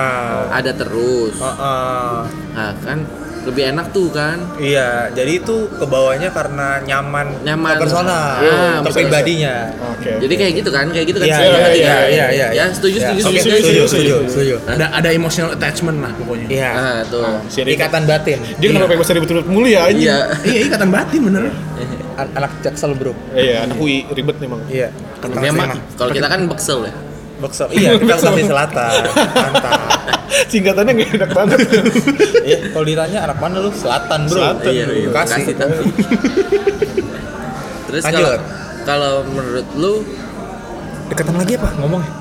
Ada terus.
Heeh.
Nah, kan lebih enak tuh kan.
Iya, jadi itu kebawanya karena nyaman,
Nyaman.
ke personal,
Ah,
ke
personal.
pribadinya.
oke
Jadi kayak gitu kan, kayak gitu kan.
Iya,
saya
iya,
perhatian.
iya,
iya,
Ya,
iya, iya.
setuju,
Iya.
setuju,
Oke,
setuju,
setuju,
setuju.
setuju.
setuju.
Ada ada emotional attachment lah pokoknya.
Iya.
Nah, tuh.
si Rifat.
Ikatan batin.
dia kenapa pakai bahasa ribet-ribet mulu ya anjing?
Iya.
Iya, ikatan batin bener.
An- anak jaksel, Bro.
iya anak UI ribet memang
Iya.
Ini mah kalau kita kan beksel ya.
Bakso. Iya, kita Sulawesi Selatan. Mantap.
singkatannya nggak enak banget
Iya, kalau ditanya anak mana lu? Selatan, Bro.
Selatan,
Iya, iya,
Bekasi.
Bekasi, tapi. Terus
Lanjut.
kalau kalau menurut lu
Dekatan lagi apa ngomongnya?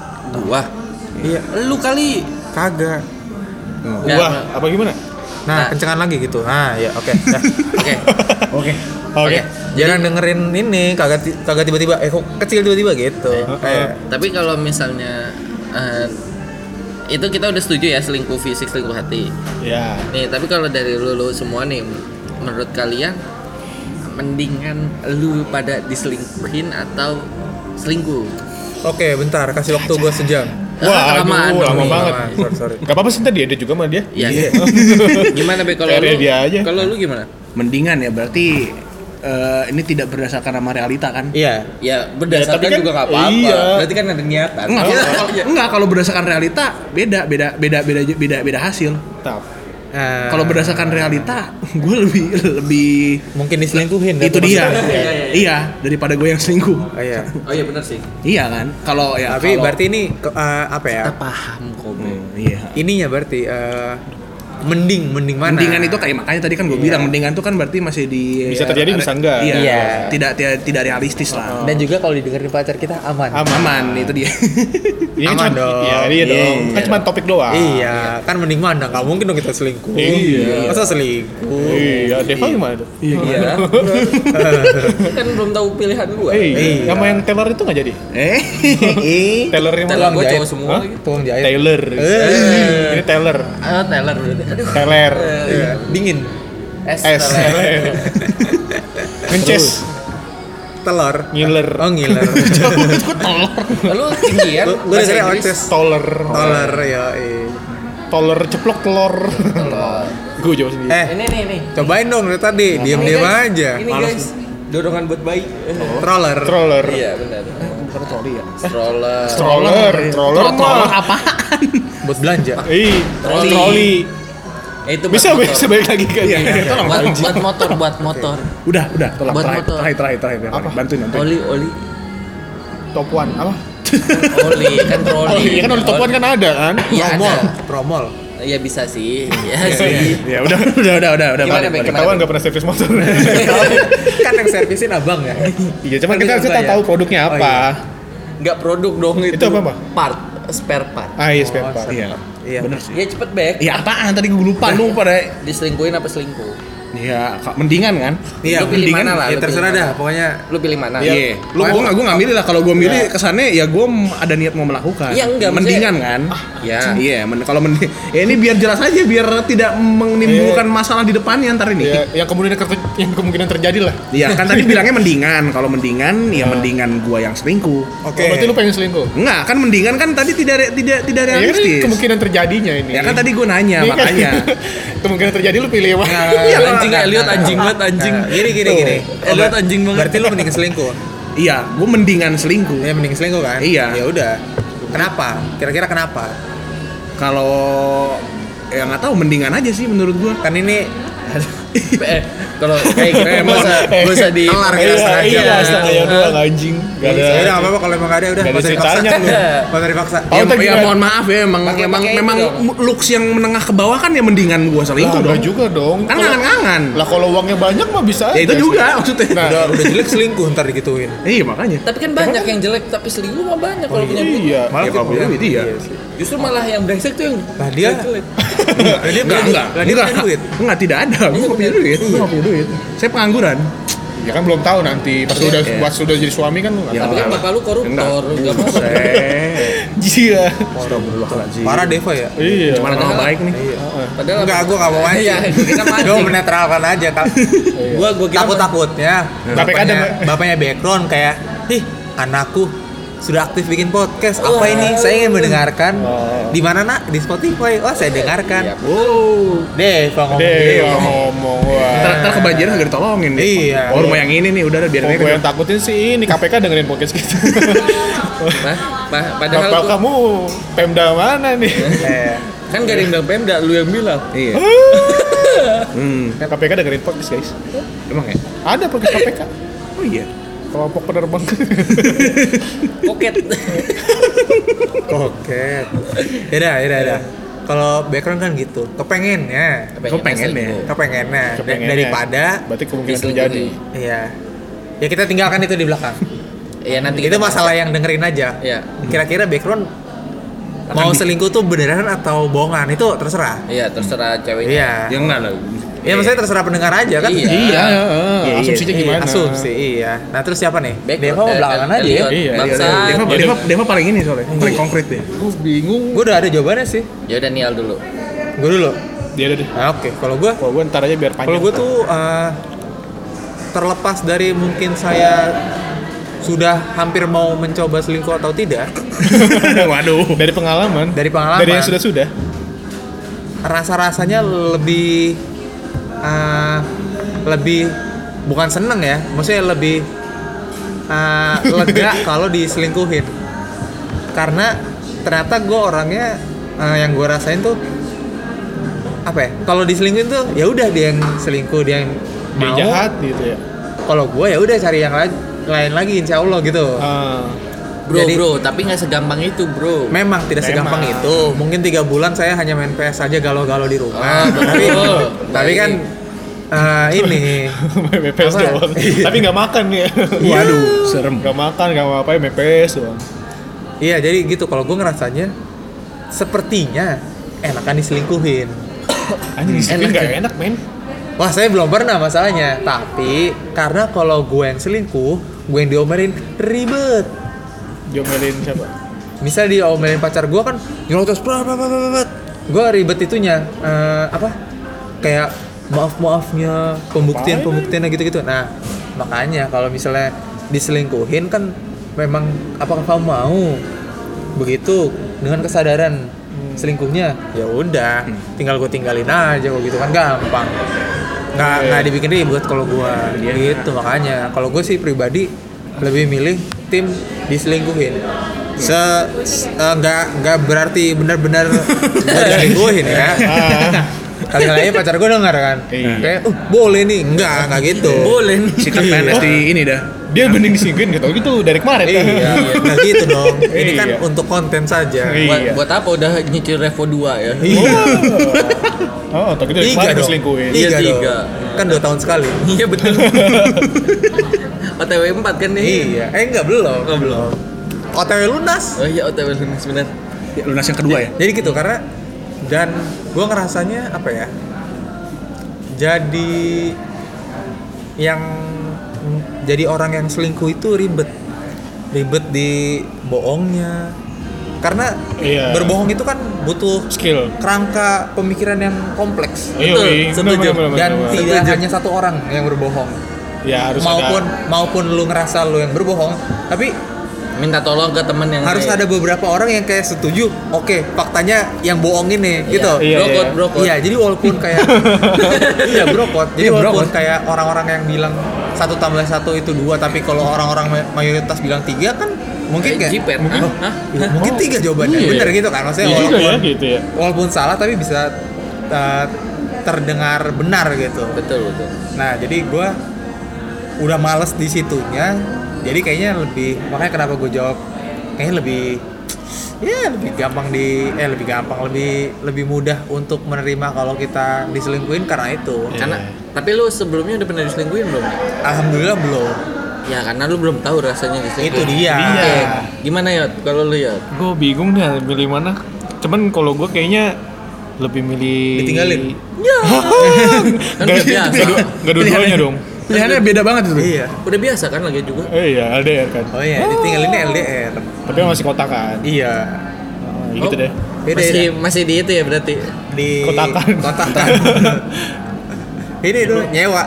gua
Iya,
lu kali Ya,
kagak.
Nggak,
wah
nggak.
apa gimana
Nah.
Nah, kencengan lagi gitu. Nah, ya oke. Nah. Eh,
Oke.
Oke.
oke
Jangan dengerin ini kagak ti- kagak tiba-tiba eh kok kecil tiba-tiba gitu.
Heeh.
Eh,
Tapi kalau misalnya eh, itu kita udah setuju ya selingkuh fisik, selingkuh hati.
ya
Nih, tapi kalau dari lu, lu semua nih menurut kalian mendingan lu pada diselingkuhin atau selingkuh?
oke, bentar kasih waktu gua sejam.
Ah,
wah
kelamaan
aduh
dong
lama
nih.
banget
Ah, sorry, sorry.
Gak apa-apa sih tadi ada juga sama dia
Iya. gimana be kalau lu?
Kayak dia aja.
Kalau lu gimana?
Mendingan ya berarti eh, ini tidak berdasarkan sama realita kan?
Iya.
Ya berdasarkan
Ya, tapi kan-
juga nggak apa-apa.
iya.
Berarti kan ada niatan.
Oh,
Enggak, kalau- enggak kalau berdasarkan realita beda beda beda beda beda beda hasil.
Tap.
Eh,
Kalau berdasarkan realita, gue lebih lebih
mungkin diselingkuhin
itu
daripada
dia.
kita.
Iya, iya, iya.
Iya, daripada gue yang selingkuh.
Oh, iya.
Oh iya benar sih.
Iya kan? Kalau ya
Tapi
kalau-
berarti ini ke- eh, apa ya?
Kita paham kok.
Oh.
Be.
iya.
Ininya berarti eh, mending mending mana?
Mendingan itu kayak makanya tadi kan gue bilang mendingan itu kan berarti masih di
Bisa terjadi, bisa enggak.
Iya.
Iya. Oh.
Tidak tidak tidak realistis lah.
dan juga kalau didengerin pacar kita aman.
aman
Aman itu dia.
Ini kan
Aman
cuma-
dong.
Iya, iya
Iya,
dong. Kan
iya.
cuma topik doang.
Iya, kan mending mana? Gak mungkin dong kita selingkuh.
Iya.
Masa selingkuh?
Iya, Deva gimana tuh?
Iya.
kan belum tahu pilihan gua.
Eh, sama yang Taylor itu nggak jadi.
eh.
Taylor yang
Telan
mana?
gua
jahit.
cowok semua gitu.
iya, Hah?
lagi.
Tolong jahit.
Taylor.
Eh.
Ini Taylor.
Ah, Taylor. Aduh.
Taylor.
Iya, Dingin.
S.
S.
Taylor.
Ngences.
Telur.
Ngiler.
Oh ngiler.
Lu tinggian.
Lu- Lu
ya? bahasa
dengerin
Inggris.
oces.
Toler.
Telur ya. eh.
Toler ceplok telur. Gue jawab sendiri.
Eh,
Ini nih nih.
cobain dong dari tadi.
Ini,
Diam-diam
guys.
aja.
Ini guys. Dorongan buat bayi.
Troller.
Troller.
Iya benar.
Bukan troli ya.
Stroller.
Troller. Troller.
Troller
mah.
apaan?
Buat belanja.
Ih,
Troli.
troli.
Eh, Itu buat
Bisa
motor.
bisa balik lagi kan? Iya.
Buat, buat motor, buat motor.
Udah, udah. Tolong
Buat
terakhir,
motor.
terakhir, terakhir, terakhir.
Apa?
Bantuin, bantuin.
Oli, oli,
Top one apa?
oli kan troli.
Oh, iya kan oleh top one kan ada kan?
Iya ada.
Promol. Promol.
Iya bisa sih. Iya sih.
Ya udah, udah, udah, udah,
Gimana, Bek?
udah. balik, balik.
Gimana?
Ketahuan nggak pernah servis motor.
kan yang servisin abang ya.
Iya, cuman kita
Tapi
kita
coba ya.
tahu produknya
Oh,
apa.
Nggak produk dong itu.
Itu apa, Pak?
Part, spare part.
Ah, iya, spare part.
Iya.
Iya.
Bener sih.
Ya cepet back.
Ya apaan tadi gue lupa lu pada
Diselingkuhin apa selingkuh?
ya Kak, mendingan kan?
Lu
Iya,
pilih mana
mendingan-
lah,
Ya
lu
terserah
pilih
dah,
mana.
pokoknya
Lu pilih mana?
Iya. Lu gua enggak gua enggak milih lah kalau gua milih kesannya ya gua m- ada niat mau melakukan.
Iya, enggak,
mendingan kan?
Iya.
Iya, men- kalau mending ya ini biar jelas aja biar tidak menimbulkan masalah di depannya ntar ini.
Ya, yang kemudian yang kemungkinan terjadi lah.
Iya, kan tadi bilangnya mendingan. Kalau mendingan ya mendingan gua yang selingkuh.
Oke.
Oh, berarti lu pengen selingkuh?
Enggak, kan mendingan kan tadi tidak re- tidak tidak
Ya, kan ini
Iya, realistis.
kemungkinan terjadinya ini.
Ya kan tadi gua nanya
Ini kan-
makanya.
kemungkinan terjadi lu pilih yang mana?
Nah,
Iya,
nah,
anjing
nah,
Elliot
nah,
anjing
nah.
banget anjing.
Nah, Gini gini gini.
Tuh. Elliot anjing banget.
Berarti lu mending selingkuh.
Iya, gue mendingan selingkuh.
Ya mending selingkuh kan?
Iya.
Ya udah. Kenapa? Kira-kira kenapa?
Kalau ya nggak tahu mendingan aja sih menurut gue.
Kan ini
Eh, kalau kayak gitu
Eh,
nggak usah nggak usah di
Kelar kita
Iya,
setengah
iya,
jam.
setengah jam doang anjing. Gak ada.
Ya udah nggak apa-apa kalau emang nggak ada udah
Nggak ada
usah dipaksa.
ceritanya lu.
Nggak usah dipaksa.
Oh,
ya,
tadi
ya,
kan-
mohon maaf ya, emang
Pakai-
emang
pakai itu
memang
dong.
looks yang menengah ke bawah kan ya mendingan gue
Lah,
selingkuh
nggak
dong.
juga dong.
Kan
Kalau-
ngangan-ngangan.
Lah kalau uangnya banyak mah bisa.
Ya itu
aja
juga
sih.
maksudnya.
Nah,
Udah udah jelek selingkuh ntar digituin.
Iya makanya.
Tapi kan banyak yang jelek tapi selingkuh mah banyak
Oh,
kalau punya duit.
iya.
Malah ya,
kita
kalau punya
bilang,
duit iya.
sih.
Justru malah yang brengsek tuh yang
Nah, dia-
jelek.
Lah, dia
Enggak,
punya-
enggak,
lah,
enggak,
dia Iya, punya duit.
enggak, tidak ada. Gue nggak punya duit, gue nggak punya duit. Saya pengangguran.
Ya kan belum tahu nanti pas lu udah
Iya.
pas sudah jadi suami kan lu nggak
Tapi kan
Enggak.
bapak lu koruptor,
Iya.
nggak mau.
Buset.
tahu. Iya.
Astagfirullahaladzim.
Parah Deva ya.
Iya.
Cuman ada hal baik nih.
Padahal
Enggak, gue gak mau mancing.
Iya, kita mancing.
Gue menetralkan aja. Kak.
gua gua kira
Takut-takutnya.
Tapi
bapaknya,
kadang-
bapaknya background kayak, ih anakku sudah aktif bikin podcast. Apa
Wah.
ini? Saya ingin mendengarkan. Di mana nak? Di Spotify. Oh, saya dengarkan.
Wow.
Deva ngomong. gitu.
Deh,
Deva.
ngomong wah.
iya. Ntar, ntar kebanjiran gak ditolongin nih.
Iya.
Oh rumah yang ini nih udah biar
Yang
ini.
gue yang takutin sih ini KPK dengerin podcast kita.
Mah, mah, padahal
Bapak
gua-
kamu Pemda mana nih?
Eh,
kan gak ada yang bilang Pemda, lu yang bilang.
Iya. Hmm.
KPK dengerin podcast guys.
Emang ya?
Ada podcast KPK.
Oh iya.
Kelompok penerbang.
Pocket.
Oke. Yaudah, yaudah, yaudah. Kalau background kan gitu. Kepengennya.
Kau pengen ya?
Kepengennya. nah. Da-
ya.
Kepengennya.
Daripada
Berarti kemungkinan terjadi.
Iya. Ya kita tinggalkan itu di belakang.
Iya nanti
itu masalah yang dengerin aja.
Iya.
Kira-kira background mau selingkuh tuh beneran atau bohongan itu terserah.
Iya, terserah ceweknya.
Iya.
Ya enggak lah.
Ya maksudnya terserah pendengar aja kan.
Iya.
Iya,
Iya,
asumsinya
Iya,
gimana?
Asumsi iya. Nah, terus siapa nih?
Back-
Deva mau
eh,
belakangan
eh,
aja ya.
Elliot.
Iya,
Bangsa.
iya,
Deva,
Jadi-
Deva, Deva paling ini soalnya, paling
Iya.
konkret deh.
Gue bingung.
Gue udah ada jawabannya sih.
Ya udah Nial dulu.
Gue dulu.
Dia ada deh.
Nah, oke. Kalau gue
Kalau gue ntar aja biar panjang.
Kalau gue tuh eh, terlepas dari mungkin saya sudah hampir mau mencoba selingkuh atau tidak
Waduh.
dari pengalaman,
dari pengalaman
dari yang sudah sudah.
rasa-rasanya lebih eh, lebih bukan seneng ya maksudnya lebih eh, lega kalau diselingkuhin karena ternyata gue orangnya eh, yang gue rasain tuh apa ya kalau diselingkuhin tuh ya udah dia yang selingkuh dia yang
Dia
mau
jahat gitu ya.
kalau gue ya udah cari yang lain lain lagi insya Allah gitu
Ah,
Bro,
Jadi-
bro, tapi nggak segampang itu, bro.
memang tidak segampang
Memang.
itu mungkin tiga bulan saya hanya main PS aja galau-galau di
Ah,
rumah tapi
betul.
tapi kan eh, ini
MPS
Apa? Iya.
doang. Tapi nggak makan ya.
Waduh, serem.
Nggak makan, nggak mau apa MPS doang.
iya jadi gitu kalau gue ngerasanya sepertinya enakan diselingkuhin
Anjing
Enak
disiplin nggak
ya?
enak men.
wah saya belum pernah masalahnya tapi karena kalau gue yang selingkuh gue yang diomelin ribet
Diomelin siapa?
misal diomelin pacar gue kan nyelotos bra bra bra bra bra gue ribet itunya eh, apa kayak maaf maafnya pembuktian pembuktiannya gitu gitu nah makanya kalau misalnya diselingkuhin kan memang apakah kamu mau begitu dengan kesadaran selingkuhnya ya udah tinggal gue tinggalin aja kok gitu kan gampang nggak nggak dibikin ribet kalau gue
Iya,
gitu makanya kalau gue sih pribadi lebih milih tim diselingkuhin se se- eh, nggak nggak berarti benar-benar gue diselingkuhin ya kali-kali aja pacar gue denger kan
Ah. Iya.
kayak uh, boleh nih nggak nggak gitu
Boleh nih.
Sikap PNS di ini dah.
Dia bening disinggin gitu. Gitu dari kemarin.
iya nggak gitu dong ini kan
Iya.
untuk konten saja
Iya.
Buat, buat apa udah nyicil Revo 2
Iya.
ya?
Oh, tapi dari kemarin gue selingkuhin.
Iya,
tiga, dong
tiga.
kan dua tahun sekali
Iya betul. OTW 4 kan nih.
Iya, eh enggak belum.
Oh, belum.
OTW lunas.
Oh iya OTW lunas benar.
Ya, Lunas yang kedua ya.
Jadi gitu karena dan gua ngerasanya apa ya? Jadi yang jadi orang yang selingkuh itu ribet. Ribet di bohongnya. Karena
Iya.
berbohong itu kan butuh
Skill.
kerangka pemikiran yang kompleks.
Iya,
Betul,
iya. Bener,
setuju.
bener, bener,
Dan
bener.
tidak hanya satu orang yang berbohong.
ya harus
maupun
ada.
maupun lu ngerasa lu yang berbohong, tapi
Minta tolong ke teman yang
harus ada beberapa orang yang kayak setuju oke faktanya yang bohong ini gitu
Iya,
Iya,
brokot,
iya.
brokot.
Iya, jadi walaupun kayak iya brokot, jadi
Iya,
walaupun
brokot.
kayak orang-orang yang bilang satu tambah satu itu dua, tapi kalau orang-orang ma- mayoritas bilang tiga kan mungkin
Kayak
kayak
jiper.
Mungkin.
Hah? Hah?
Iya, mungkin tiga jawabannya
Iya.
bener gitu kan maksudnya
Iya juga
walaupun,
ya gitu ya.
walaupun salah tapi bisa uh, terdengar benar gitu.
Betul, betul.
Iya.
Nah, jadi gua udah males di situnya. Jadi kayaknya lebih makanya kenapa gue jawab kayaknya lebih ya lebih gampang di eh lebih gampang lebih lebih mudah untuk menerima kalau kita diselingkuhin karena itu.
Iya.
Karena tapi lu sebelumnya udah pernah diselingkuhin belum?
Alhamdulillah belum.
Ya karena lu belum tahu rasanya
Itu
diselingkuhin.
dia.
Iya.
Gimana Yot? Kalau lu Yot?
Gue bingung deh milih mana. Cuman kalau gue kayaknya lebih milih
Ditinggalin.
Ya. kan
Gak,
biasa.
gak dua-duanya dong
Pilihannya beda banget itu.
Iya.
Udah biasa kan lagi juga.
Eh iya LDR kan.
Oh iya, ditinggalinnya LDR.
Tapi masih kotakan.
Iya.
Oh, ya gitu
Oh.
deh.
Beda
masih
ya.
masih di itu ya berarti.
Di
Kotakan.
Kotakan. Ini dulu nyewa.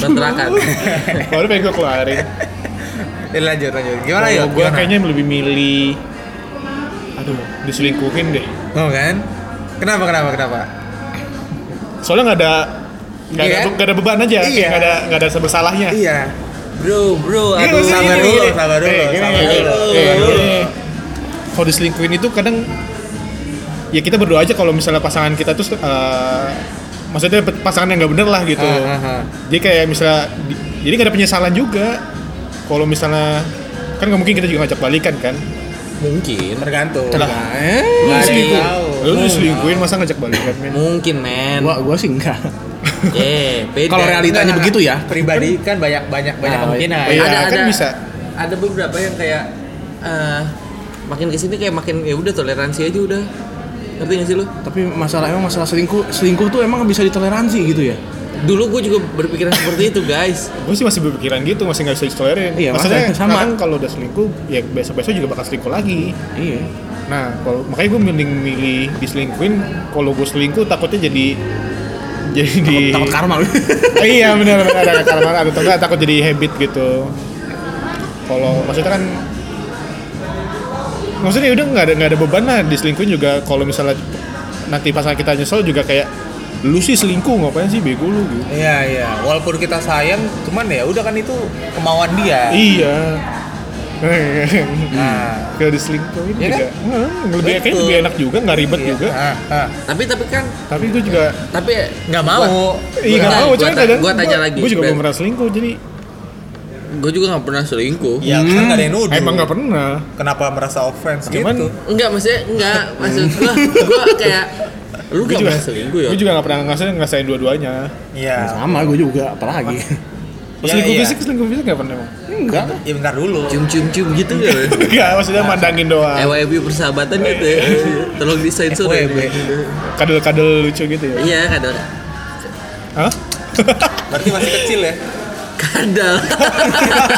Kontrakan.
Ah, Baru pengen gue keluarin.
Ini lanjut lanjut. Gimana ya?
Kalau gue kayaknya lebih milih aduh diselingkuhin deh
Oh kan? Kenapa kenapa kenapa?
soalnya nggak ada nggak
Iya
ada,
kan?
nggak ada beban aja
Iya.
kayak nggak ada nggak ada bersalahnya
Iya.
Bro, bro,
Iya,
aduh.
maksudnya
Sabar
gini,
dulu,
gini.
sabar dulu,
Eh, gini,
sabar
gini.
dulu.
Eh, gini. Kalau diselingkuhin itu kadang ya kita berdoa aja kalau misalnya pasangan kita tuh eh, maksudnya pe- pasangan yang nggak bener lah gitu.
Ah, ah, ah.
Jadi kayak misalnya di- jadi nggak ada penyesalan juga. Kalau misalnya kan nggak mungkin kita juga ngajak balikan kan.
Mungkin.
Tergantung.
Eh,
Lu
Nggak
diselingkuh-
tahu.
Lu diselingkuhin masa ngajak balikan kan? men?
Mungkin, men.
gua gua sih enggak.
Eh, beda.
Kalau realitanya
Enggak,
begitu ya.
Pribadi kan banyak banyak banyak
Ah,
kemungkinan.
iya.
Nah, ada,
kan
ada-
bisa.
Ada beberapa yang kayak eh makin kesini kayak makin ya udah toleransi aja udah. Ngerti gak sih lu?
Tapi masalah emang masalah selingkuh, selingkuh tuh emang bisa ditoleransi gitu ya.
Dulu gue juga berpikiran seperti itu, guys.
Gue sih masih berpikiran gitu, masih nggak bisa ditolerin.
Iya,
Maksudnya
makanya sama.
kadang kalau udah selingkuh, ya besok-besok juga bakal selingkuh lagi.
Iya.
Nah, kalau makanya gue mending milih diselingkuhin. Kalau gue selingkuh takutnya jadi jadi
Takut karma. lu.
Eh, iya benar benar ada karma ada atau enggak takut jadi habit gitu. Kalau maksudnya kan maksudnya ya udah nggak ada nggak ada beban lah diselingkuhin juga kalau misalnya nanti pasangan kita nyesel juga kayak lu sih selingkuh ngapain sih bego lu gitu.
Iya iya. Walaupun kita sayang, cuman ya udah kan itu kemauan dia.
Iya.
Nah.
Kalau diselingkuhin
Iya
juga, hmm, lebih kayaknya lebih enak juga, nggak ribet juga.
Ah, ah.
Tapi tapi kan
Tapi gue juga
tapi
Nggak mau.
Iya nggak
Gua-
mau,
gua
cuman
ta-
kadang
gua tanya lagi,
Gue juga
Bel.
belum pernah selingkuh, jadi
gue juga nggak pernah selingkuh.
Ya kan nggak ada yang nuduh.
Hmm.
Gitu.
emang nggak pernah.
Kenapa merasa offense
Cuman
gitu?
Enggak, maksudnya enggak. Maksud gua, gua kayak lu gak
gue juga,
pernah selingkuh ya?
gue juga nggak pernah ngerasain ngerasain dua-duanya.
Iya.
ya Sama gua juga, apalagi.
Iya,
selingkuh
iya.
fisik, selingkuh fisik nggak pernah emang.
Enggak.
Ya bentar dulu.
Cium-cium-cium gitu ya?
Nggak, maksudnya mandangin doang.
FYP persahabatan gitu ya. Tolong disensor ya.
FYP.
Kadel-kadel lucu gitu ya.
Iya, kadal.
Hah?
Berarti masih kecil ya?
Kadal.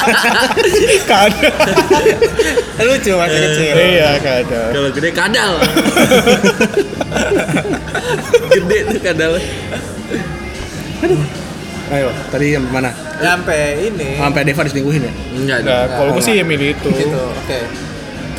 Kadel.
Lucu masih kecil.
Iya, kadel.
Kalau gede kadal. gede tuh kadal.
Ayo, tadi yang mana?
Sampai ini.
Sampai Deva diselingkuhin ya?
Enggak
Nah,
dong.
kalau gue sih ya milih itu.
Gitu. Oke.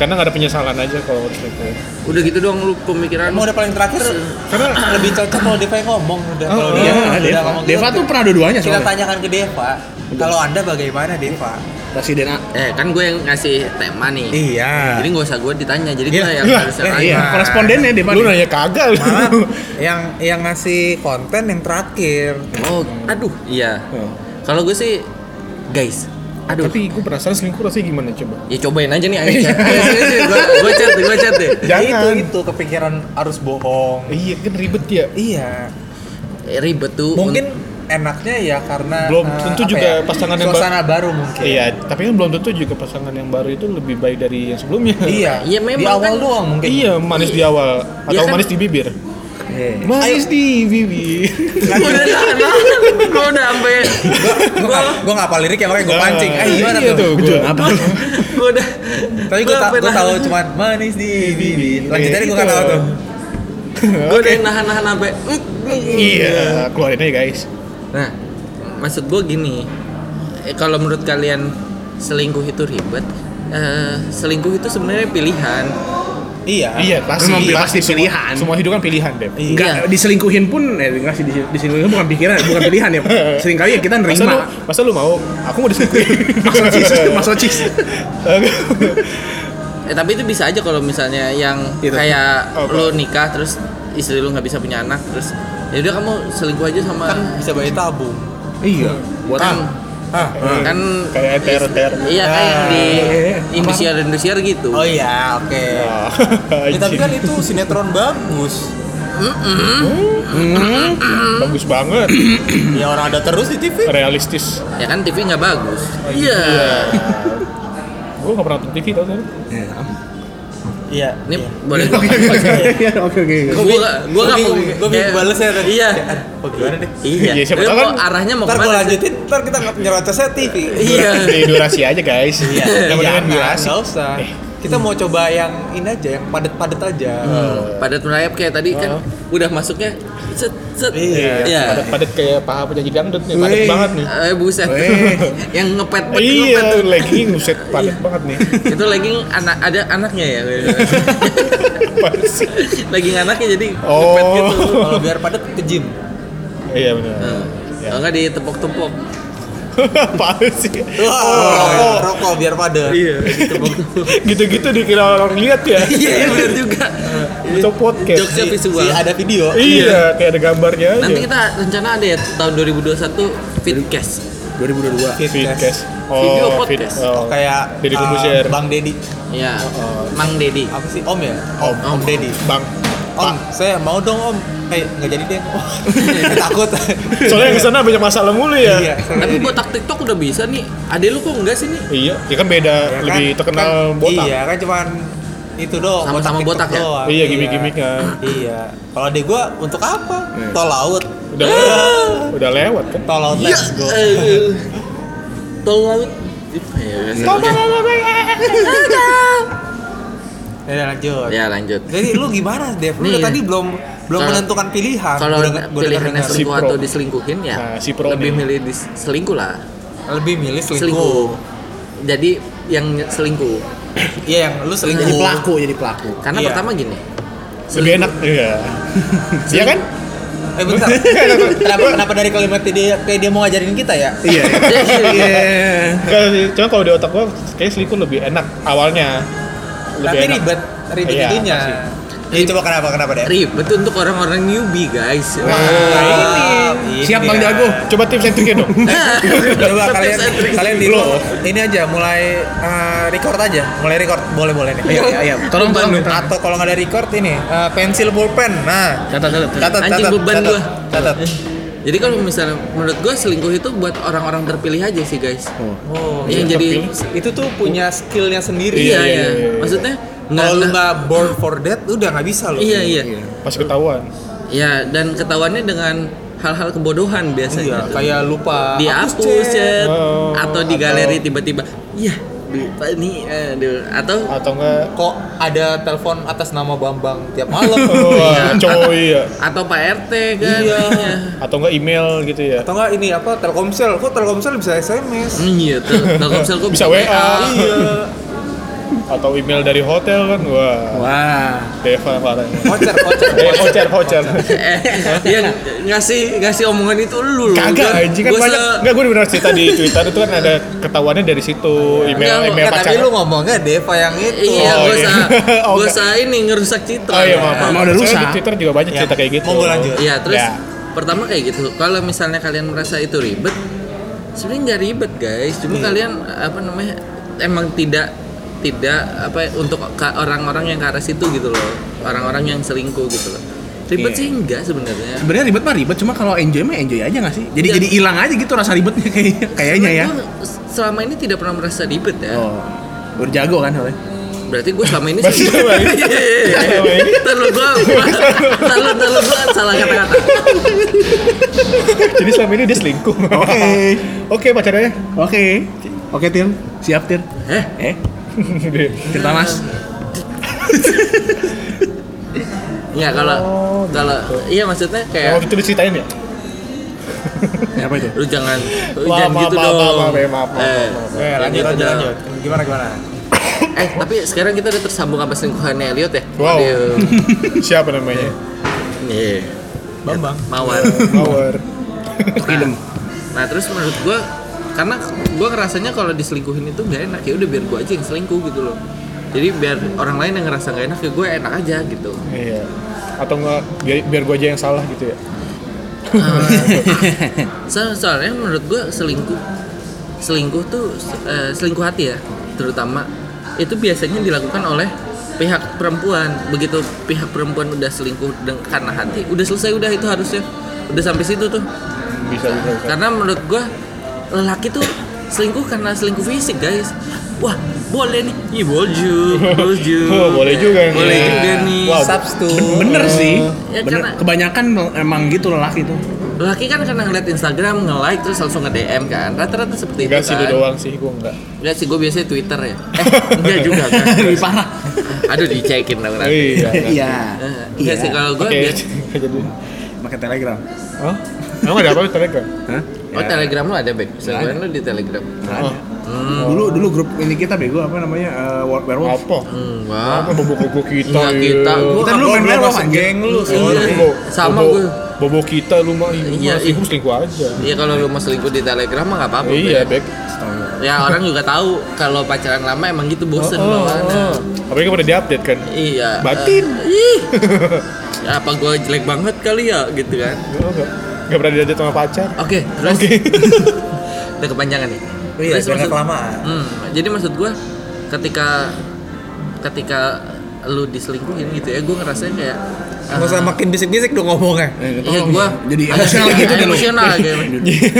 Karena nggak ada penyesalan aja kalau selingkuh.
Udah gitu doang lu pemikiran.
Emang udah paling terakhir
Karena
lebih cocok kalau Deva yang ngomong udah
Oh,
kalau
oh,
dia
iya. Deva,
udah
Deva.
ngomong gitu,
Deva tuh pernah dua-duanya
kita
soalnya.
tanyakan ke Deva. Kalau Anda bagaimana Deva?
Presiden A.
Eh, kan gue yang ngasih tema nih.
Iya.
Jadi gak usah gue ditanya, jadi
Iya.
gue yang
Iya.
harus
Eh,
nanya.
iya,
Nah.
korespondennya Deva.
lu
nih.
nanya kagak lu.
Malah yang yang ngasih konten yang terakhir.
Oh, aduh. Iya.
Nah,
Kalau gue sih guys, aduh.
Tapi gue penasaran selingkuh rasanya gimana coba.
ya cobain aja nih ayo chat. Ayo, sini, sini, iya, gua gua chat, gua chat deh.
Jangan.
Itu itu kepikiran harus bohong.
Iya kan ribet ya.
Iya.
Eh, Ribet tuh.
Mungkin enaknya ya karena
Belum
eh,
tentu
apa
juga pasangan yang ba-
suasana baru mungkin.
Iya, tapi kan belum tentu juga pasangan yang baru itu lebih baik dari yang sebelumnya.
Iya.
Iya, memang
di awal
kan-
doang mungkin.
Iya, manis di awal atau
Iya kan?
manis di bibir.
Iya.
Manis di bibir.
Gua udah nahan, nahan. Gua udah sampai
Gua nggak- gua nggak hafal lirik ya makanya gua pancing.
Nah,
Eh gimana
iya
tuh?
gua.
Betul, apa?
gua udah
Tapi gua, Iya, ta-
sampai
gua
nahan.
tahu cuman manis di bibir. Lanjut dari gua nggak
Gitu.
tahu tuh.
gua udah nahan-nahan sampai
Iya, keluarin aja guys.
Nah, maksud gua gini. Eh, kalau menurut kalian selingkuh itu ribet, eh, selingkuh itu sebenarnya pilihan.
Iya.
Iya, pasti.
Memang pasti
Semua-
pilihan.
Semua hidup kan pilihan, Beb.
Enggak,
Iya.
diselingkuhin pun eh enggak sih dis- diselingkuhin bukan pikiran, bukan pilihan ya. Seringkali ya kita
kan
Masa lu,
nerima.
masa lu mau? Aku mau diselingkuhin.
Masochis, masochis.
Eh, tapi itu bisa aja kalau misalnya yang
Itu.
kayak
Apa?
lu nikah terus istri lu nggak bisa punya anak terus ya udah kamu selingkuh aja sama
Kan bisa bayi tabung.
Iya, buat
kan
Hah?
kan
Kayak ETR, ETR.
iya kayak yang di
Ah.
indosiar indosiar gitu
Oh iya, oke.
Ah,
Ya, tapi kan itu sinetron bagus.
bagus banget,
ya orang ada terus di
Iya.
TV.
realistis.
ya kan TV nggak bagus iya
Gue gak pernah nonton TV tau kan?
Iya.
ini boleh gua
Iya, oke oke.
gua gak gua nggak mau
gue
kayak-
bingung balesnya tadi.
iya
Kayak, Oh gimana deh?
iya
Iya, siapa
Lu
tahu
mau
kan-
arahnya mau
Ntar gue
kemana sih?
lanjutin ntar kita nggak nyerocosnya TV.
Iya.
Beli durasi aja guys. Iya. Yang Eh. penting kan
Jangan,
durasi.
nggak usah. Kita mau coba yang ini aja, yang padat-padat aja.
Hmm.
padat merayap kayak tadi kan udah masuknya set set
Iya.
ya
Padat, padat kayak paha penyaji gandut nih, padat
Wih.
banget nih.
eh buset
Weh.
yang ngepet pet
Iya,
ngepet tuh.
legging buset padat banget nih.
itu legging anak ada anaknya ya
Apaan sih?
legging anaknya jadi
Oh.
ngepet gitu Eh,
Kalau biar padat ke gym.
Iya benar.
Hmm.
Ya.
Kalau nggak ditepok-tepok
Apaan sih? Oh,
Oh, Rokok, rokok biar padat.
iya ditepok-tepok
Gitu-gitu dikira orang lihat ya.
iya iya, benar juga
Itu podcast.
jokesnya visual
Si ada video.
Iya, kayak ada gambarnya aja.
nanti kita rencana ada ya tahun 2021 fitcast
2022
Feedcast.
Video
Oh, feed-
podcast.
oh.
Kayak
Deddy
eh,
Corbuzier.
Bang Dedi.
ya Mang Dedi
Apa sih? Om ya?
Om.
Om Dedi.
Bang.
Om, saya mau dong Om. Eh, nggak jadi deh. Oh, takut.
Soalnya yang kesana banyak masalah mulu ya.
Iya.
tapi botak TikTok udah bisa nih ade lu kok enggak sih nih
Iya, ya kan beda
Ya kan,
lebih terkenal
kan-
botak.
Iya, kan cuman itu doang.
Sama-sama
TikTok
botak ya?
doang.
Iya, gimmick-gimmicknya.
Iya. Kalau di gua untuk apa?
Iya.
Tol laut.
Udah udah lewat kan.
Tol
Iya.
laut let's go.
eh, tol laut Ya,
Ya lanjut.
ya lanjut
Jadi lu gimana, Dev? Lu
Nih.
tadi belum belum
Kalau-
menentukan pilihan.
kalau
Gua dengar- gua
pilihannya
dengar-
sendiri.
selingkuh
Si pro.
atau diselingkuhin ya
Nah, si pro
lebih
nih.
milih diselingkuh lah
lebih milih selingkuh.
selingkuh jadi yang nye- selingkuh
Iya, yang lu selingkuh.
jadi pelaku jadi pelaku
karena
Iya.
pertama gini
Lebih enak. Iya. Iya kan?
Eh bentar. kenapa, kenapa dari kalimat dia kayak dia mau ngajarin kita ya?
iya iya
Enggak sih, Cuma kalau di otak gua kayak selingkuh lebih enak awalnya. Lebih
Tapi
enak.
ribet, ribet
Iya,
itunya.
pasti.
Iya, coba kenapa kenapa Dev?
ribet untuk orang-orang newbie guys
Ah, ini
Nah, siap bang
dia.
jago
Coba tips and triknya dong.
Coba
Tetep
kalian
saya trik.
kalian di
Belum.
ini aja mulai eh, record aja, mulai record boleh boleh nih.
Iya, iya, iya. Tolong, tolong.
Atau kalau nggak ada record ini eh, pensil pulpen. Nah,
catat catat catat.
catat
Anjing
catat.
beban
catat,
gua.
Catat.
jadi kalau misalnya menurut gue selingkuh itu buat orang-orang terpilih aja sih guys
Oh,
yang
iya,
jadi
terpilih.
itu tuh punya skillnya sendiri.
iya
Iya, iya,
iya
iya.
maksudnya
Kalau lu
nggak-
nggak born for that, udah nggak bisa
Nah,
lo.
iya iya
Pas ketahuan.
Ya, dan ketahuannya dengan hal-hal kebodohan
Iya,
biasanya. tuh.
kayak lupa
gitu. dihapus ya. chat
Oh,
atau di
atau-
galeri tiba-tiba, iya, lupa nih, aduh." atau
Atau enggak
Kok ada telepon atas nama Bambang tiap malam?
Wah, Oh, cowok iya.
atau Pak RT kan.
Iya.
Iya.
Atau enggak email gitu ya.
Atau nggak ini apa Telkomsel? Kok Telkomsel bisa SMS?
Hmm, Iya, tuh. Telkomsel kok
Bisa
Hmm.
WA.
Iya.
Atau email dari hotel kan. Wah.
wah
Deva parahnya.
Voucher, voucher,
Eh, voucher, voucher.
Eh, yang ngasih ngasih omongan itu lu loh.
Kagak
Gua-
anjing kan
gua
banyak.
se-
Enggak gue benar cerita di Twitter itu kan ada ketahuannya dari situ email
Enggak,
email
Nggak, tapi
pacaran.
lu ngomongnya Deva yang itu.
Iya,
Oh,
gua
iya.
sa
Oh,
gua
enggak.
sa ini ngerusak citra.
Oh iya,
Ya.
maaf. maaf.
Emang udah Iya.
Soalnya
lusa?
Di Twitter juga banyak cerita kayak gitu.
Mau gue lanjut?
Iya, terus
Ya.
pertama kayak gitu. Kalau misalnya kalian merasa itu ribet, sebenarnya nggak ribet guys. Cuma kalian apa namanya emang tidak tidak apa untuk ka- orang-orang yang ke arah situ gitu loh, orang-orang yang selingkuh gitu loh. Ribet sih enggak sebenarnya.
sebenarnya ribet mah ribet cuma kalau enjoy mah enjoy aja nggak sih jadi
Iya.
jadi hilang aja gitu rasa ribetnya kayaknya kayaknya ya
Gua selama ini tidak pernah merasa ribet ya.
oh udah jago kan soalnya
Berarti gue selama ini Iya,
Masih
selingkuh.
selama ini? Selama ini?
Terlalu gue, terlalu terlalu gue salah kata-kata.
Jadi selama ini dia selingkuh.
Oke.
Oke, pacarnya.
oke oke tir siap tir
Eh,
eh
Iya.
cerita mas
ya kalau kalau iya maksudnya
Yang
kayak
waktu itu diceritain ya?
apa itu
lu jangan lu
Maaf,
jangan
maaf,
gitu
maaf,
dong
maaf, maaf, maaf, maaf,
eh,
Oke, lanjut,
gitu
lanjut,
dong.
lanjut. Gimana, gimana?
eh tapi sekarang kita udah tersambung sama selingkuhannya Elliot ya
Wow.
Aduh.
Siapa namanya?
Iya.
Bambang.
mawar
Mawar.
nah, nah terus menurut gua karena gua ngerasanya kalau diselingkuhin itu nggak enak ya udah biar gua aja yang selingkuh gitu loh jadi biar orang lain yang ngerasa nggak enak ya gue enak aja gitu
Iya. Atau enggak biar, biar gue aja yang salah gitu ya. Ah.
so, soalnya menurut gua selingkuh selingkuh tuh eh, selingkuh hati ya terutama itu biasanya dilakukan oleh pihak perempuan begitu pihak perempuan udah selingkuh deng- karena hati udah selesai udah itu harusnya udah sampai situ tuh
Bisa bisa. bisa.
karena menurut gua lelaki tuh selingkuh karena selingkuh fisik guys wah boleh nih Ih, bolju bolju
Oh, boleh juga nih.
boleh juga nih
Wow.
Subs tuh.
bener sih
Ya,
bener
karena-
kebanyakan emang gitu lelaki tuh
laki kan karena ngeliat Instagram nge like terus langsung nge DM kan rata-rata seperti
Enggak
itu
sih
kan
lu doang sih, gua enggak.
Enggak sih, gue biasanya Twitter ya. Eh, enggak juga
Nah,
kan. Lebih parah. Aduh, dicekin dong nanti.
Iya. iya.
Iya.
Eh, Enggak sih, kalau gue
Oke.
biasa...
Jadi.
Pakai Telegram.
Hah? Emang ada apa di Telegram?
Hah?
Oh,
Iya.
Ya.
Telegram lu ada, Bek? Misalkan lu di Telegram.
Oh,
Hmm,
Dulu dulu grup ini kita bego apa namanya? Eh, War- werewolf.
apa?
enggak.
Apa bobo-bobo kita? iya.
Enggak kita. Gua
Kita dulu main werewolf Oh, anjing.
lu.
Iya. Sama gua.
Bobo kita lu mah
Iya,
iya, selingkuh selingkuh aja.
Iya, kalau lu mau selingkuh di Telegram mah nggak apa-apa.
Iya,
Bek.
Bek.
Ya, orang juga tahu kalau pacaran lama emang gitu bosen
Oh,
bawaannya.
oh. Apalagi pada diupdate kan.
Iya.
Batin.
eh, ih. Ya, apa gue jelek banget kali ya gitu kan.
Enggak enggak. Enggak pernah diupdate sama pacar.
Oke, terus. Udah kepanjangan nih.
Iya,
terus
jangan
maksud-
kelamaan.
Hmm, jadi maksud gue ketika ketika lu diselingkuhin gitu ya, gue ngerasain kayak Ah.
Nggak usah makin bisik-bisik dong ngomongnya.
Eh.
Iya gue
jadi emosional gitu deh lu.
Emosional gitu.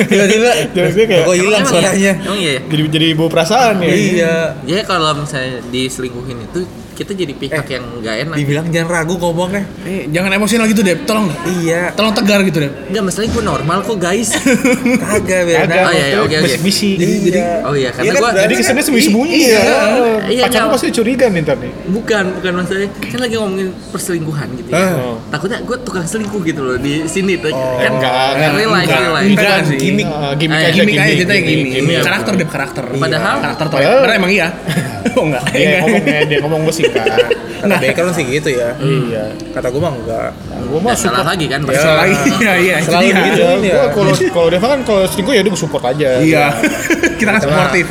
Tiba-tiba,
Tiba-tiba kayak-
kok hilang
Emang iya?
suaranya.
Emang iya ya?
Jadi jadi bawa perasaan ya.
Iya.
Jadi kalau misalnya diselingkuhin itu kita jadi pihak yang nggak enak.
Dibilang jangan ragu ngomongnya.
Eh, jangan emosional gitu, Dep. Tolong dah.
Iya.
Tolong tegar gitu, Dep.
Enggak, masalahnya gue normal kok guys.
Kagak
Ada
beda.
Oh, iya, iya, oke, oke.
misi.
Jadi jadi
Oh iya, karena
Iya kan,
gue
Jadi kesannya sembunyi-sembunyi
Iya.
ya.
Iya,
Pacar lu
nyawa.
pasti curiga nih ntar nih.
bukan bukan masalahnya kan lagi ngomongin perselingkuhan gitu ya.
Ah. Oh.
Oh.
Takutnya gue tukang selingkuh gitu loh di sini tuh. kan
enggak,
kan real life, real life.
Enggak
Kan
sih.
gimmick, ah,
Eh,
gimmick aja,
Gimik aja kita yang gimmick.
gimmick.
Karakter, Dep, karakter.
Padahal-
Iya, karakter
Padahal-
toilet. Bener emang iya. oh enggak.
Iya, ngomong dia ngomong gue sih kan.
Kata Baker sih gitu ya.
Iya.
Kata gue mah enggak.
Gue
Ya,
mah
salah
support.
lagi kan
Ya.
pasti.
Lagi iya iya. itu
Selalu
dia.
begitu.
Ya,
Iya.
gua kalau kalau Deva kan kalau selingkuh ya dia gue support aja.
Iya. Kita kan sportif.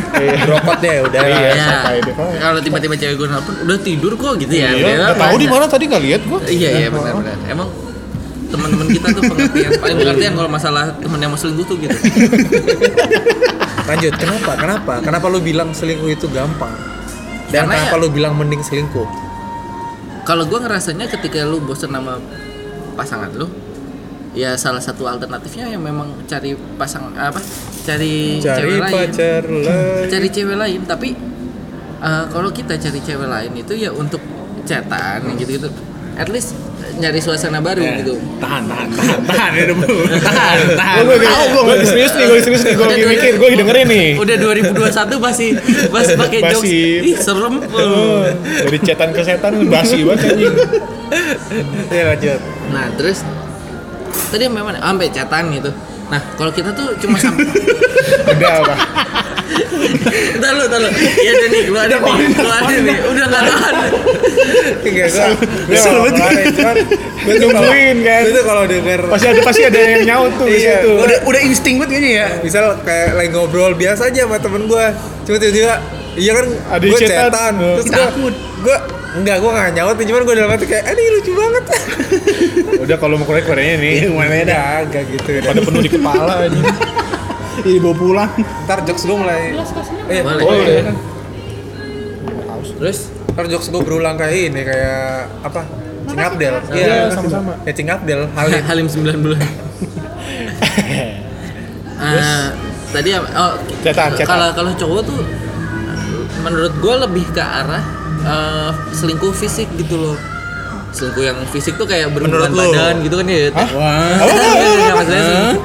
Rokok deh udah.
Iya.
Ya,
sampai deh, Pak.
kalau tiba-tiba cewek gue nelfon udah tidur kok gitu ya.
Iya,
Dia
nggak tahu
nanya.
di mana tadi nggak lihat gue.
Iya iya benar-benar. Emang teman-teman kita tuh pengertian paling pengertian kalau masalah teman yang mau selingkuh tuh gitu.
Lanjut. Kenapa? Kenapa? Kenapa lu bilang selingkuh itu gampang? Dan
Karena
kenapa
ya-
lu bilang mending selingkuh?
Kalau gue ngerasanya ketika lu bosen sama pasangan lu, ya salah satu alternatifnya yang memang cari pasang apa? Cari,
Cari
cewek lain.
pacar lain.
cari cewek lain tapi eh, kalau kita cari cewek lain itu ya untuk cetan gitu gitu at least eh, nyari suasana baru
Iya.
gitu
Tahan, tahan, tahan, tahan ya, Dep. Tahan, tahan.
Gue gue serius nih, gue serius nih, gue lagi mikir, gue dengerin nih.
udah 2021 masih masih pakai jokes
Masih.
ih serem
Oh, dari cetan ke setan basi banget anjing.
Iya lanjut.
nah terus tadi memang sampai cetan gitu nah kalau kita tuh cuma sampai
Udah apa?
udah lu udah lu ya udah nih keluar nih keluar nih udah nggak tahan
Enggak gua.
Kesel
Gua
banget.
kemarin, cuman
Gue nungguin kan.
Itu kalau denger
Pasti ada pasti ada yang nyaut tuh di
Iya.
situ.
Udah udah insting banget kayaknya ya.
misal kayak lagi ngobrol biasa aja sama temen gue cuma tiba-tiba iya kan
Ada
gue
chatan.
cetan terus
Kita
gue
takut.
gue enggak gue nggak nyaut nih, cuman gue dalam hati kayak "Ah, ini lucu banget
Udah kalau mau korek koreknya nih.
mana ada agak gitu udah.
Pada penuh di kepala anjing. Iya,
Ini bawa pulang.
ntar jokes gue mulai eh,
Boleh.
Boleh.
terus
ntar jokes gue berulang kayak ini kayak apa Cingabdel
gitu,
Iya, sama-sama.
ya Cingabdel Halim
Eh, Halim 9 bulan
Iya.
Ah, tadi ya- oh,
Cetan, cetan.
kalau kalau cowok tuh menurut gue lebih ke arah eh, selingkuh fisik gitu loh selingkuh yang fisik tuh kayak berhubungan
Menurut lo?
badan gitu kan ya
Hah?
Wah.
Apa,
Iya,
apa, apa, apa?
maksudnya selingkuh-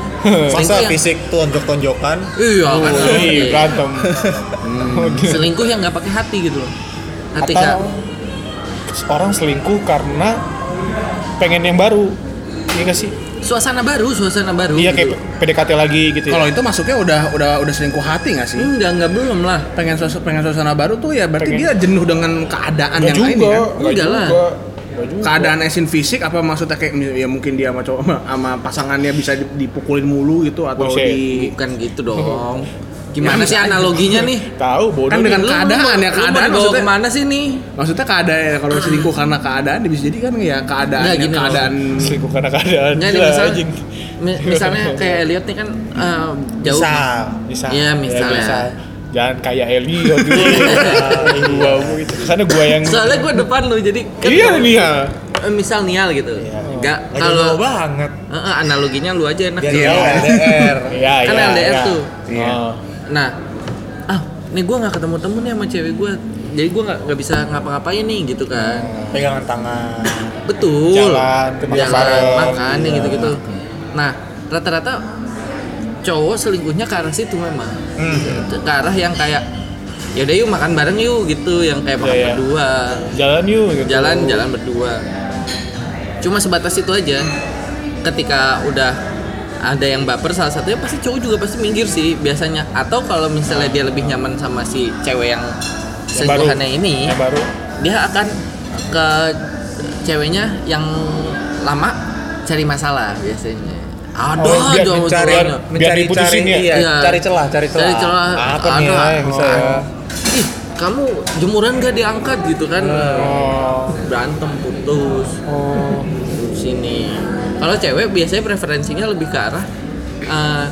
selingkuh yang-
fisik tuh tonjok-tonjokan
iya
Oh,
kan
Ih,
Iya.
berantem. Hmm. Oh, gitu.
selingkuh yang nggak pakai hati gitu loh hati
Atau
Kak.
orang selingkuh karena pengen yang baru. Iya gak sih?
suasana baru suasana baru
Iya
gitu.
kayak PDKT lagi gitu ya.
Kalau itu masuknya udah udah udah selingkuh hati nggak sih?
enggak enggak Hmm, belum lah
Pengen suasana, pengen suasana baru tuh ya berarti
Pengen.
dia jenuh dengan keadaan
Nggak
yang lain
juga,
ya kan?
nggak
Enggak lah. Kan-
juga. Nggak juga.
Keadaan esin fisik apa maksudnya kayak ya mungkin dia sama cowok sama, sama pasangannya bisa di- dipukulin mulu gitu atau
Buset.
di
bukan gitu dong gimana sih analoginya nih
Tahu bodoh.
Kan dengan
Lu- lu-
keadaan ya
lu mau
keadaan
dibawa
maksudnya
kemana sih nih
maksudnya keadaan ya, kalau selingkuh karena keadaan dia bisa jadi kan ya keadaan
Nggak,
ya,
gini loh.
keadaan
selingkuh karena keadaan.
Nggak, nih,
Gila,
misalnya,
Iya, anjing.
mi- misalnya kayak Elliot nih kan eh, jauh
bisa
Iya, misalnya.
jangan kayak Eli waktu itu gua gua gitu sana gua yang
soalnya gue depan lu jadi kan
iya
gua-
nih ya
eh, misal nial gitu enggak
Iya. Lagi
kalau
low banget
Eh, eh, analoginya lu aja enak
Iya, LDR
iya
Kan
iya,
LDR
iya.
tuh.
Iya.
Oh.
nah ah nih gue nggak ketemu temen nih sama cewek gue jadi gue nggak nggak bisa ngapa-ngapain nih gitu kan
pegangan tangan
betul
Jalan, ke Iya.
jalan
bareng.
makan yang gitu-gitu nah rata-rata cowok selingkuhnya ke arah situ memang
Hmm.
Gitu. ke arah yang kayak yaudah yuk makan bareng yuk gitu yang kayak makan
Iya, iya.
berdua
jalan yuk gitu.
jalan jalan berdua cuma sebatas itu aja ketika udah ada yang baper salah satunya pasti cowok juga pasti minggir sih biasanya atau kalau misalnya dia lebih nyaman sama si cewek yang
Yang baru. Iya.
selingkuhannya ini
yang baru
dia akan ke ceweknya yang lama cari masalah biasanya. Ada
Oh, biar
aja
mencari-
masalahnya.
biar diputusin ya?
iya,
Iya.
cari celah, cari celah.
Cari celah.
apa nih
ada.
ya yang bisa
Oh.
Ih, kamu jemuran gak diangkat gitu kan?
oh
Berantem putus
oh
sini. Kalau cewek biasanya preferensinya lebih ke arah eh,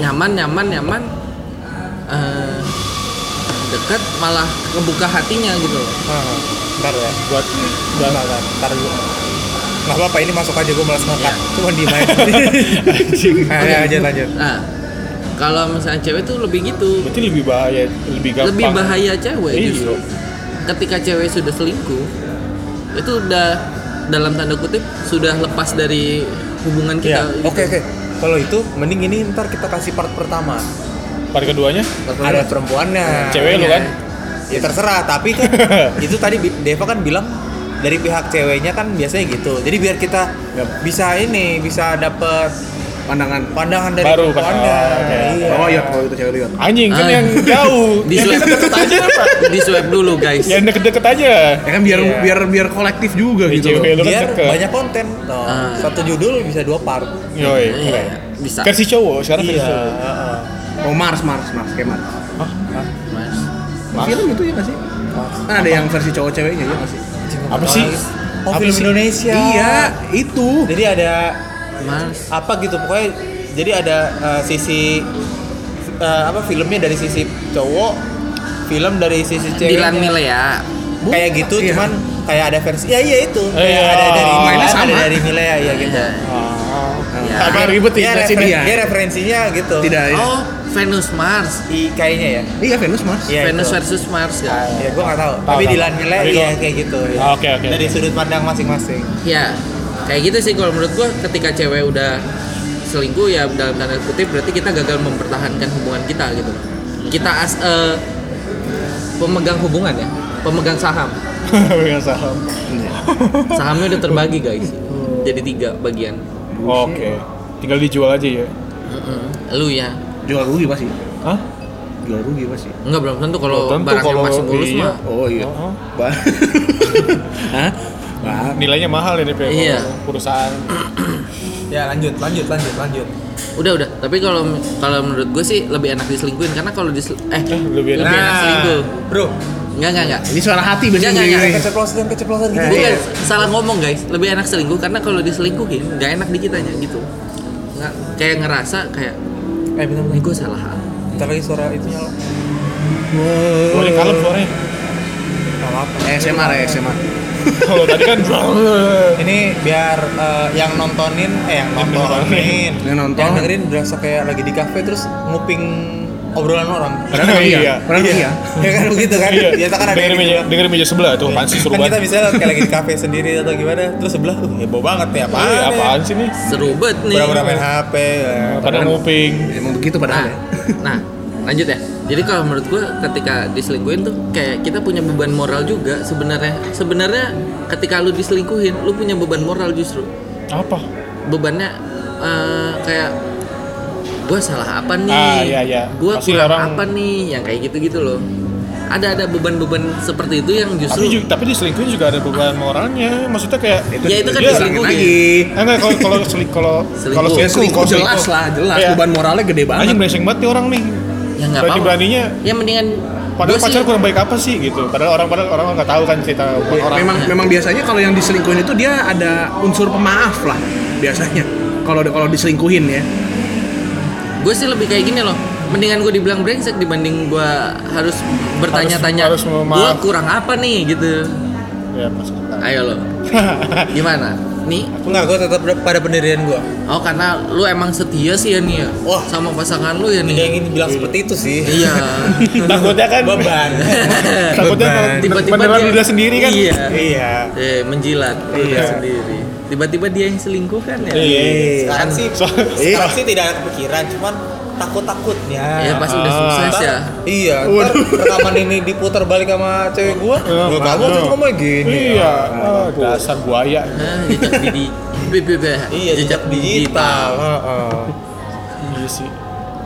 nyaman nyaman nyaman eh, dekat malah kebuka hatinya gitu loh.
Ah, ntar ya buat
Enggak, enggak, enggak. Ntar dulu. Nggak apa-apa, ini masuk aja. Gue malas ngangkat.
Iya.
Cuma diem aja. Nah, ya, lanjut, lanjut.
Nah, kalau misalnya cewek tuh lebih gitu,
berarti lebih bahaya lebih gampang
lebih bahaya cewek
Iya.
justru. Ketika cewek sudah selingkuh, itu udah dalam tanda kutip sudah lepas dari hubungan
Iya,
kita. gitu.
oke, oke. Kalau itu, mending ini ntar kita kasih part pertama.
part keduanya
Ada perempuannya.
Nah,
cewek
iya.
lu kan
Ya terserah, tapi kan itu tadi Bi- Deva kan bilang dari pihak ceweknya kan biasanya gitu. Jadi biar kita
Yap.
bisa ini, bisa dapet
pandangan
pandangan dari
Baru,
perempuannya.
pandangan. Oke.
Iya.
oh iya kalau itu cewek lihat
anjing kan
Ah.
yang jauh
Di
yang
swipe,
deket aja apa
di swipe dulu guys.
yang deket-deket aja
ya kan biar
Iya.
biar biar kolektif juga
Eh,
gitu loh.
cewek lu kan
Biar
deket
banyak konten. Tuh,
Ah.
Satu judul bisa dua part.
yoi
Iya,
keren
bisa.
versi cowok sekarang versi
Iya.
cowok
heeh.
oh Mars Mars Mars kayak Mars
Mas.
film itu ya nggak sih kan ada yang versi cowok ceweknya ya nggak sih
apa sih
Oh,
Apa
film
sih?
Indonesia.
iya itu
Jadi ada
Mas.
apa gitu pokoknya jadi ada eh, sisi eh, apa filmnya dari sisi cowok, film dari sisi cewek.
Dilan Milea.
kayak gitu
Iya.
cuman kayak ada versi ya iya itu
Eh,
Kayak
iya.
ada dari
Oh,
Milan
mainnya
ada
sama.
dari Milea ya gitu
Iya. Iya.
agak ribet
ya,
ya
refer-
sini ya.
dia referensinya gitu
tidak ya.
Oh, Venus Mars.
I- kayaknya ya
iya Venus Mars
Iya,
Venus
itu.
versus Mars kan.
ya gua nggak tahu
Tahu,
tapi
tahu.
Dilan Milea
Tapi
iya
gua-
kayak gitu ya.
Ah, oke, oke.
dari sudut pandang masing-masing
Ya, kayak gitu sih kalau menurut gua ketika cewek udah selingkuh ya dalam tanda kutip berarti kita gagal mempertahankan hubungan kita gitu. Kita as eh, pemegang hubungan ya, pemegang saham.
Yang saham.
Sahamnya udah terbagi guys, jadi tiga bagian.
oke tinggal dijual aja ya
Mm-mm. Lu ya,
jual rugi pasti
Hah?
jual rugi pasti
nggak belum tentu kalau
Belum tentu
barangnya
kalau
masih mulus
iya.
mah.
oh iya
Oh, oh.
Ba- Hah? Ba-
nilainya mahal ini Pe,
Iya.
kalau perusahaan
ya lanjut lanjut lanjut lanjut
Udah udah, tapi kalau kalau menurut gue sih lebih enak diselingkuhin karena kalau di eh
Eh, lebih enak.
lebih enak
Ah.
selingkuh.
bro Eh,
Enggak enggak enggak.
ini suara hati
Jangan,
biasanya
jangan.
gini. Eh,
keceplosan keceplosan
Eh.
gitu
Bukan salah ngomong guys, lebih enak selingkuh karena kalau diselingkuhin nggak enak di kitanya gitu. Nggak kayak ngerasa kayak
eh bentar
ini gue salah apa?"
bentar lagi suara itu nyala
boleh kalem suaranya
nggak apa
ASMR ya ASMR
kalau tadi kan
ini biar eh, yang nontonin eh yang nontonin
Yang nonton.
yang dengerin berasa kayak lagi di kafe terus nguping obrolan orang
Padahal emang
Iya.
iya Padahal emang iya
ya kan begitu kan
iya
biasa kan ada yang
dengerin
gitu
meja
kan.
dengerin meja sebelah tuh apaan sih seru
kan kita
banget
bisa kayak lagi di kafe sendiri atau gimana terus sebelah uh, heboh banget ya apaan
Iya,
ya
apaan sih nih
Seru banget nih.
pura-pura main HP ya.
pada nguping
emang begitu
Nah,
padahal ya
nah, lanjut ya. Jadi kalau menurut gue ketika diselingkuhin tuh kayak kita punya beban moral juga sebenarnya. Sebenarnya ketika lu diselingkuhin, lu punya beban moral justru.
apa
Bebannya eh, kayak gue salah apa nih?
Ah, iya, iya.
Gue
Pasti
kurang
orang-
apa nih? Yang kayak gitu-gitu loh. Ada ada beban-beban seperti itu yang
tapi
justru
juga tapi diselingkuhin juga ada beban moralnya maksudnya kayak
Ya, itu kan
Iya.
diselingkuhin.
lagi
Eh, enggak kalau kalau seling kalau
Selingkuh.
kalau
ya
selingkuh
selingkuh jelas lah jelas
Iya.
beban moralnya gede banget
anjing blessing banget nih orang nih
ya nggak
berani
apa-apa.
beraninya
Ya mendingan
padahal
gua sih-
pacar kurang baik apa sih gitu padahal orang padahal orang nggak tahu kan cerita
Iya,
Ya,
orang
memang memang biasanya kalau yang diselingkuhin itu dia ada unsur pemaaf lah biasanya kalau kalau diselingkuhin ya
gue sih lebih kayak gini loh mendingan gue dibilang brengsek dibanding gue harus bertanya-tanya
Harus- harus memaaf. Iya,
gue kurang apa nih gitu
ya pas
ayo lo gimana nih
Enggak, gue tetap pada pendirian gue.
oh karena lu emang setia sih ya nih ya
Wah. Iya.
sama pasangan lu ya
Dia
nih
ingin bilang seperti itu sih.
iya
takutnya kan
Beban.
takutnya
Beban.
kalau
Tiba-tiba
beneran
dia-
udah sendiri kan
Iya.
iya
eh menjilat lu udah
Iya.
sendiri tiba-tiba dia yang selingkuh kan ya
Iya, Sekarang sih,
So-
sekarang sih tidak ada kepikiran, cuman takut-takutnya.
ya pas udah
Ah.
sukses
Ntar-
ya
Iya, ntar rekaman ini diputar balik sama cewek gua.
Eh,
Gua kamu
mana?
tuh ngomong gini.
iya Ah, dasar buaya
Nah, jejak bidi
Iya, jejak digital. Heeh.
iya sih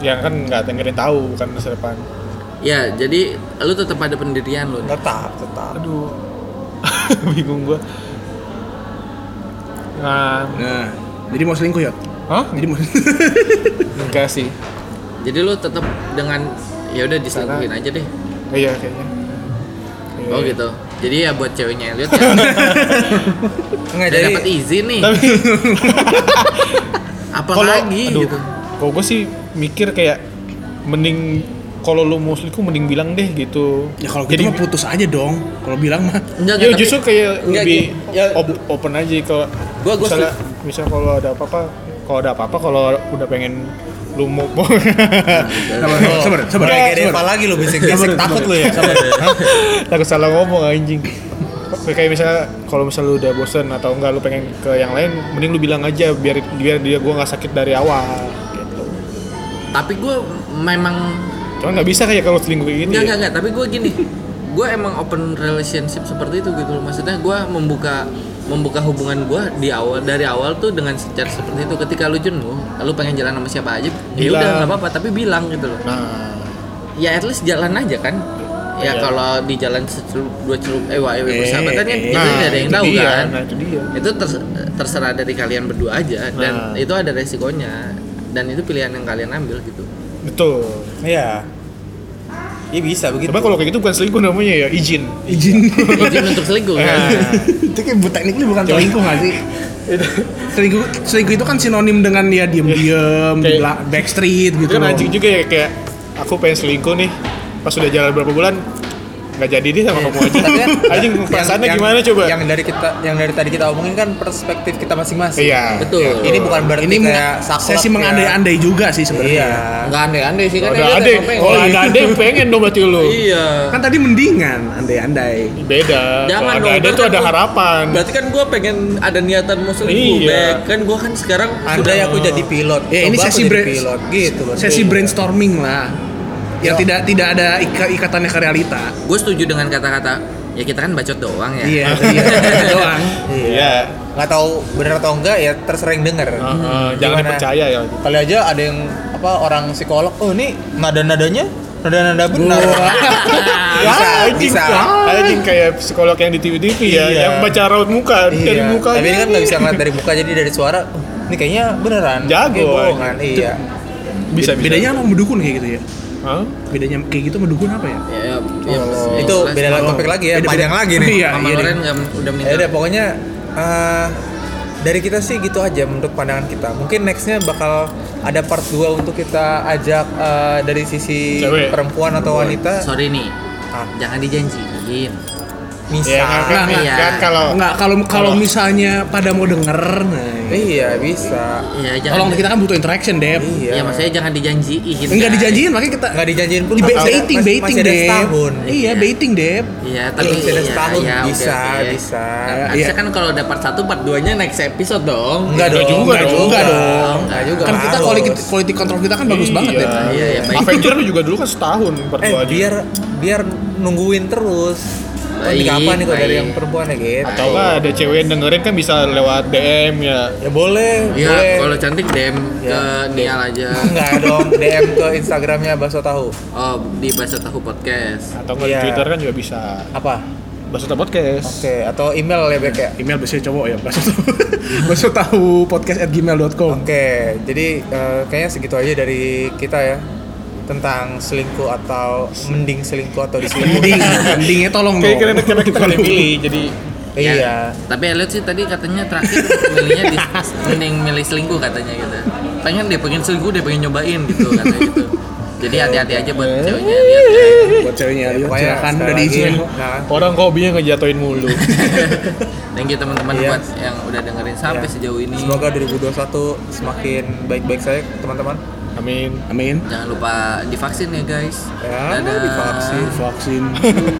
yang kan nggak ada yang ada yang tahu bukan masa depan
ya jadi lu tetap ada pendirian lu nih.
Tetap, tetap.
aduh bingung gua nah
Nah, jadi mau selingkuh ya?
hah
Jadi mau
enggak sih
jadi lu tetap dengan ya udah diselingkuhin aja deh
iya kayaknya Iya.
oh gitu jadi ya buat ceweknya Elliot ya udah
Enggak jadi
dapat izin nih
tapi
apa
kalau
lagi
aduh,
gitu
kalau gue sih mikir kayak mending kalau lu mau selingkuh mending bilang deh gitu
Ya kalau gitu mah putus aja dong. Kalau bilang mah
enggak
ya
enggak, tapi-
justru kayak
enggak,
lebih
gini. Ya,
op- open aja kalau
Gua- gua
misalnya misal kalau ada apa-apa kalau ada apa-apa kalau udah pengen lu mau
sabar, sabar, sabar.
oh,
Enggak,
Kayak Deva lagi lu bisik-bisik takut lu ya.
takut salah ngomong anjing kayak misalnya kalau misalnya lu udah bosen atau enggak lu pengen ke yang lain mending lu bilang aja biar biar dia gua nggak sakit dari awal gitu
tapi gue memang
cuman nggak bisa kayak kalau selingkuh kayak gini
enggak enggak
ya.
enggak tapi gue gini gue emang open relationship seperti itu gitu loh maksudnya gue membuka membuka hubungan gue di awal dari awal tuh dengan secara seperti itu ketika lu jenuh lu pengen jalan sama siapa aja ya
Bilang.
udah nggak apa-apa tapi bilang gitu loh
nah
ya at least jalan aja kan ya
Iya.
kalau di jalan secelup dua celup eh wah eh, persahabatan kan
nah,
itu nggak ada yang
itu
tahu
dia,
kan
nah itu dia
itu ters- terserah dari kalian berdua aja dan
Nah.
itu ada resikonya dan itu pilihan yang kalian ambil gitu
betul
Iya. Iya bisa begitu.
coba kalau kayak gitu bukan selingkuh namanya ya izin
izin.
izin untuk selingkuh kan
Eh,
itu kayak bu tekniknya bukan selingkuh nggak sih? selingkuh selingkuh itu kan sinonim dengan ya diem-diem,
Iya. Kayak-
di bela- backstreet
itu
gitu.
kan
loh.
anjing juga ya kayak aku pengen selingkuh nih pas udah jalan berapa bulan nggak jadi deh sama kamu aja anjing perasaannya gimana coba
Yang dari kita yang dari tadi kita omongin kan perspektif kita masing-masing.
iya
betul
Ini bukan berarti
Ini
kayak
meng-
saklek
sesi
ya.
mengandai-andai juga sih
Iya.
sebenarnya.
nggak aneh-aneh sih kan
Kalau
Elliot
ada ade
emang pengen.
kalau ada ade pengen dong berarti lu
iya
Kan tadi mendingan andai-andai.
beda
Jangan
kalau ada
dong,
ade
ntar
tuh
kan
ada
gua-
harapan
berarti kan gue pengen ada niatan mau selingkuh
Iya.
Bek. kan gue kan sekarang
Andai aku jadi pilot.
Ya, ini
coba aku
sesi
jadi
brain-
pilot gitu. berarti.
Sesi brainstorming lah. Ya tidak tidak ada ika- ikatannya ke realita.
gue setuju dengan kata-kata ya kita kan bacot doang ya
Iya, iya. doang.
iya
nggak tahu benar atau enggak ya tersering denger.
Heeh,
Hmm,
jangan
Gimana?
percaya ya
Kali aja ada yang apa orang psikolog, oh ini nada-nadanya nada-nada benar. Ah, bisa,
Ya, anjing
bisa.
anjing kayak psikolog yang di TV-TV ya
Iya.
yang baca raut muka dari
Iya.
muka
Tapi ini
aja.
kan nggak bisa ngeliat dari muka jadi dari suara. "Oh, Ini kayaknya beneran.
Jago,
Ini bohongan. Iya.
bisa bisa
Bedanya sama dukun kayak gitu ya.
Hah?
Bedanya kayak gitu sama dukun apa ya?
ya, ya,
Oh,
ya,
itu
jelas.
beda
Oh.
topik lagi ya,
Beda-beda.
panjang lagi nih.
Iya,
Mama
iya. deh.
Loren nggak udah minta
Ya udah pokoknya eh, dari kita sih gitu aja menurut pandangan kita. Mungkin nextnya bakal ada part 2 untuk kita ajak eh, dari sisi
Cewek.
perempuan atau wanita.
sorry nih
Ah.
jangan dijanjiin
Bisa.
ya kan, kan,
Iya.
kan kalau
Nah,
Oh.
Enggak, kalau kalau misalnya pada mau denger, nah,
Iya, bisa.
ya jangan
tolong kita kan butuh interaction, Dep.
ya
Iya.
maksudnya jangan dijanjiin kan?
Enggak
guys.
dijanjiin, makanya kita
Nggak dijanjiin pun
di
masih ada-
baiting,
masih-
baiting,
masih ada
Dep.
setahun. ya.
Iya, baiting, Dep.
Iya, tapi
Masih ada
iya,
setahun.
iya, oke,
Bisa,
oke.
bisa.
Nah,
Iya.
harusnya kan kalau dapat satu part 2-nya next episode dong.
Enggak dong,
juga
enggak
dong.
juga
Enggak
dong.
dong.
Enggak juga.
Kan kita
harus.
quality, quality control kita kan bagus banget, iya. Dep.
Iya, iya, baik.
Avenger juga dulu kan setahun part
Eh,
dua aja.
biar biar nungguin terus. Oh, ini
Baik,
kapan nih kok dari
baik.
yang perempuan ya gitu.
Atau nggak ada cewek yang dengerin kan bisa lewat DM ya.
Ya boleh,
Iya,
boleh.
kalau cantik DM
Iya.
ke Nial aja.
Enggak dong, DM ke Instagramnya Baso Tahu.
Oh, di Bahasa Tahu Podcast.
Atau nggak
Iya.
di Twitter kan juga bisa.
Apa?
Bahasa Tahu podcast.
Oke, atau email ya Bek ya.
Email biasanya cowok ya, Baso tahu. Baso tahu podcast at gmail.com.
Oke, jadi eh, kayaknya segitu aja dari kita ya tentang selingkuh atau mending selingkuh atau diselingkuh.
Mending, mendingnya tolong
Kayak
dong.
keren karena kita kan pilih jadi
Ya,
iya.
Tapi Elliot sih tadi katanya terakhir milihnya di mending milih selingkuh katanya gitu. Pengen dia pengen selingkuh, dia pengen nyobain gitu katanya gitu. Jadi hati-hati aja buat
Eh.
ceweknya.
buat ceweknya ya,
Pokoknya
silakan
Iya, sekali
udah
lagi,
diizinin kok.
nah,
Orang kok hobinya ngejatoin mulu.
Thank you teman-teman buat yang udah dengerin sampai sejauh ini.
Iya. Semoga 2021 semakin baik-baik saya teman-teman.
Amin.
Amin.
Eh.
Jangan lupa divaksin ya guys.
Ya, divaksin.
Vaksin.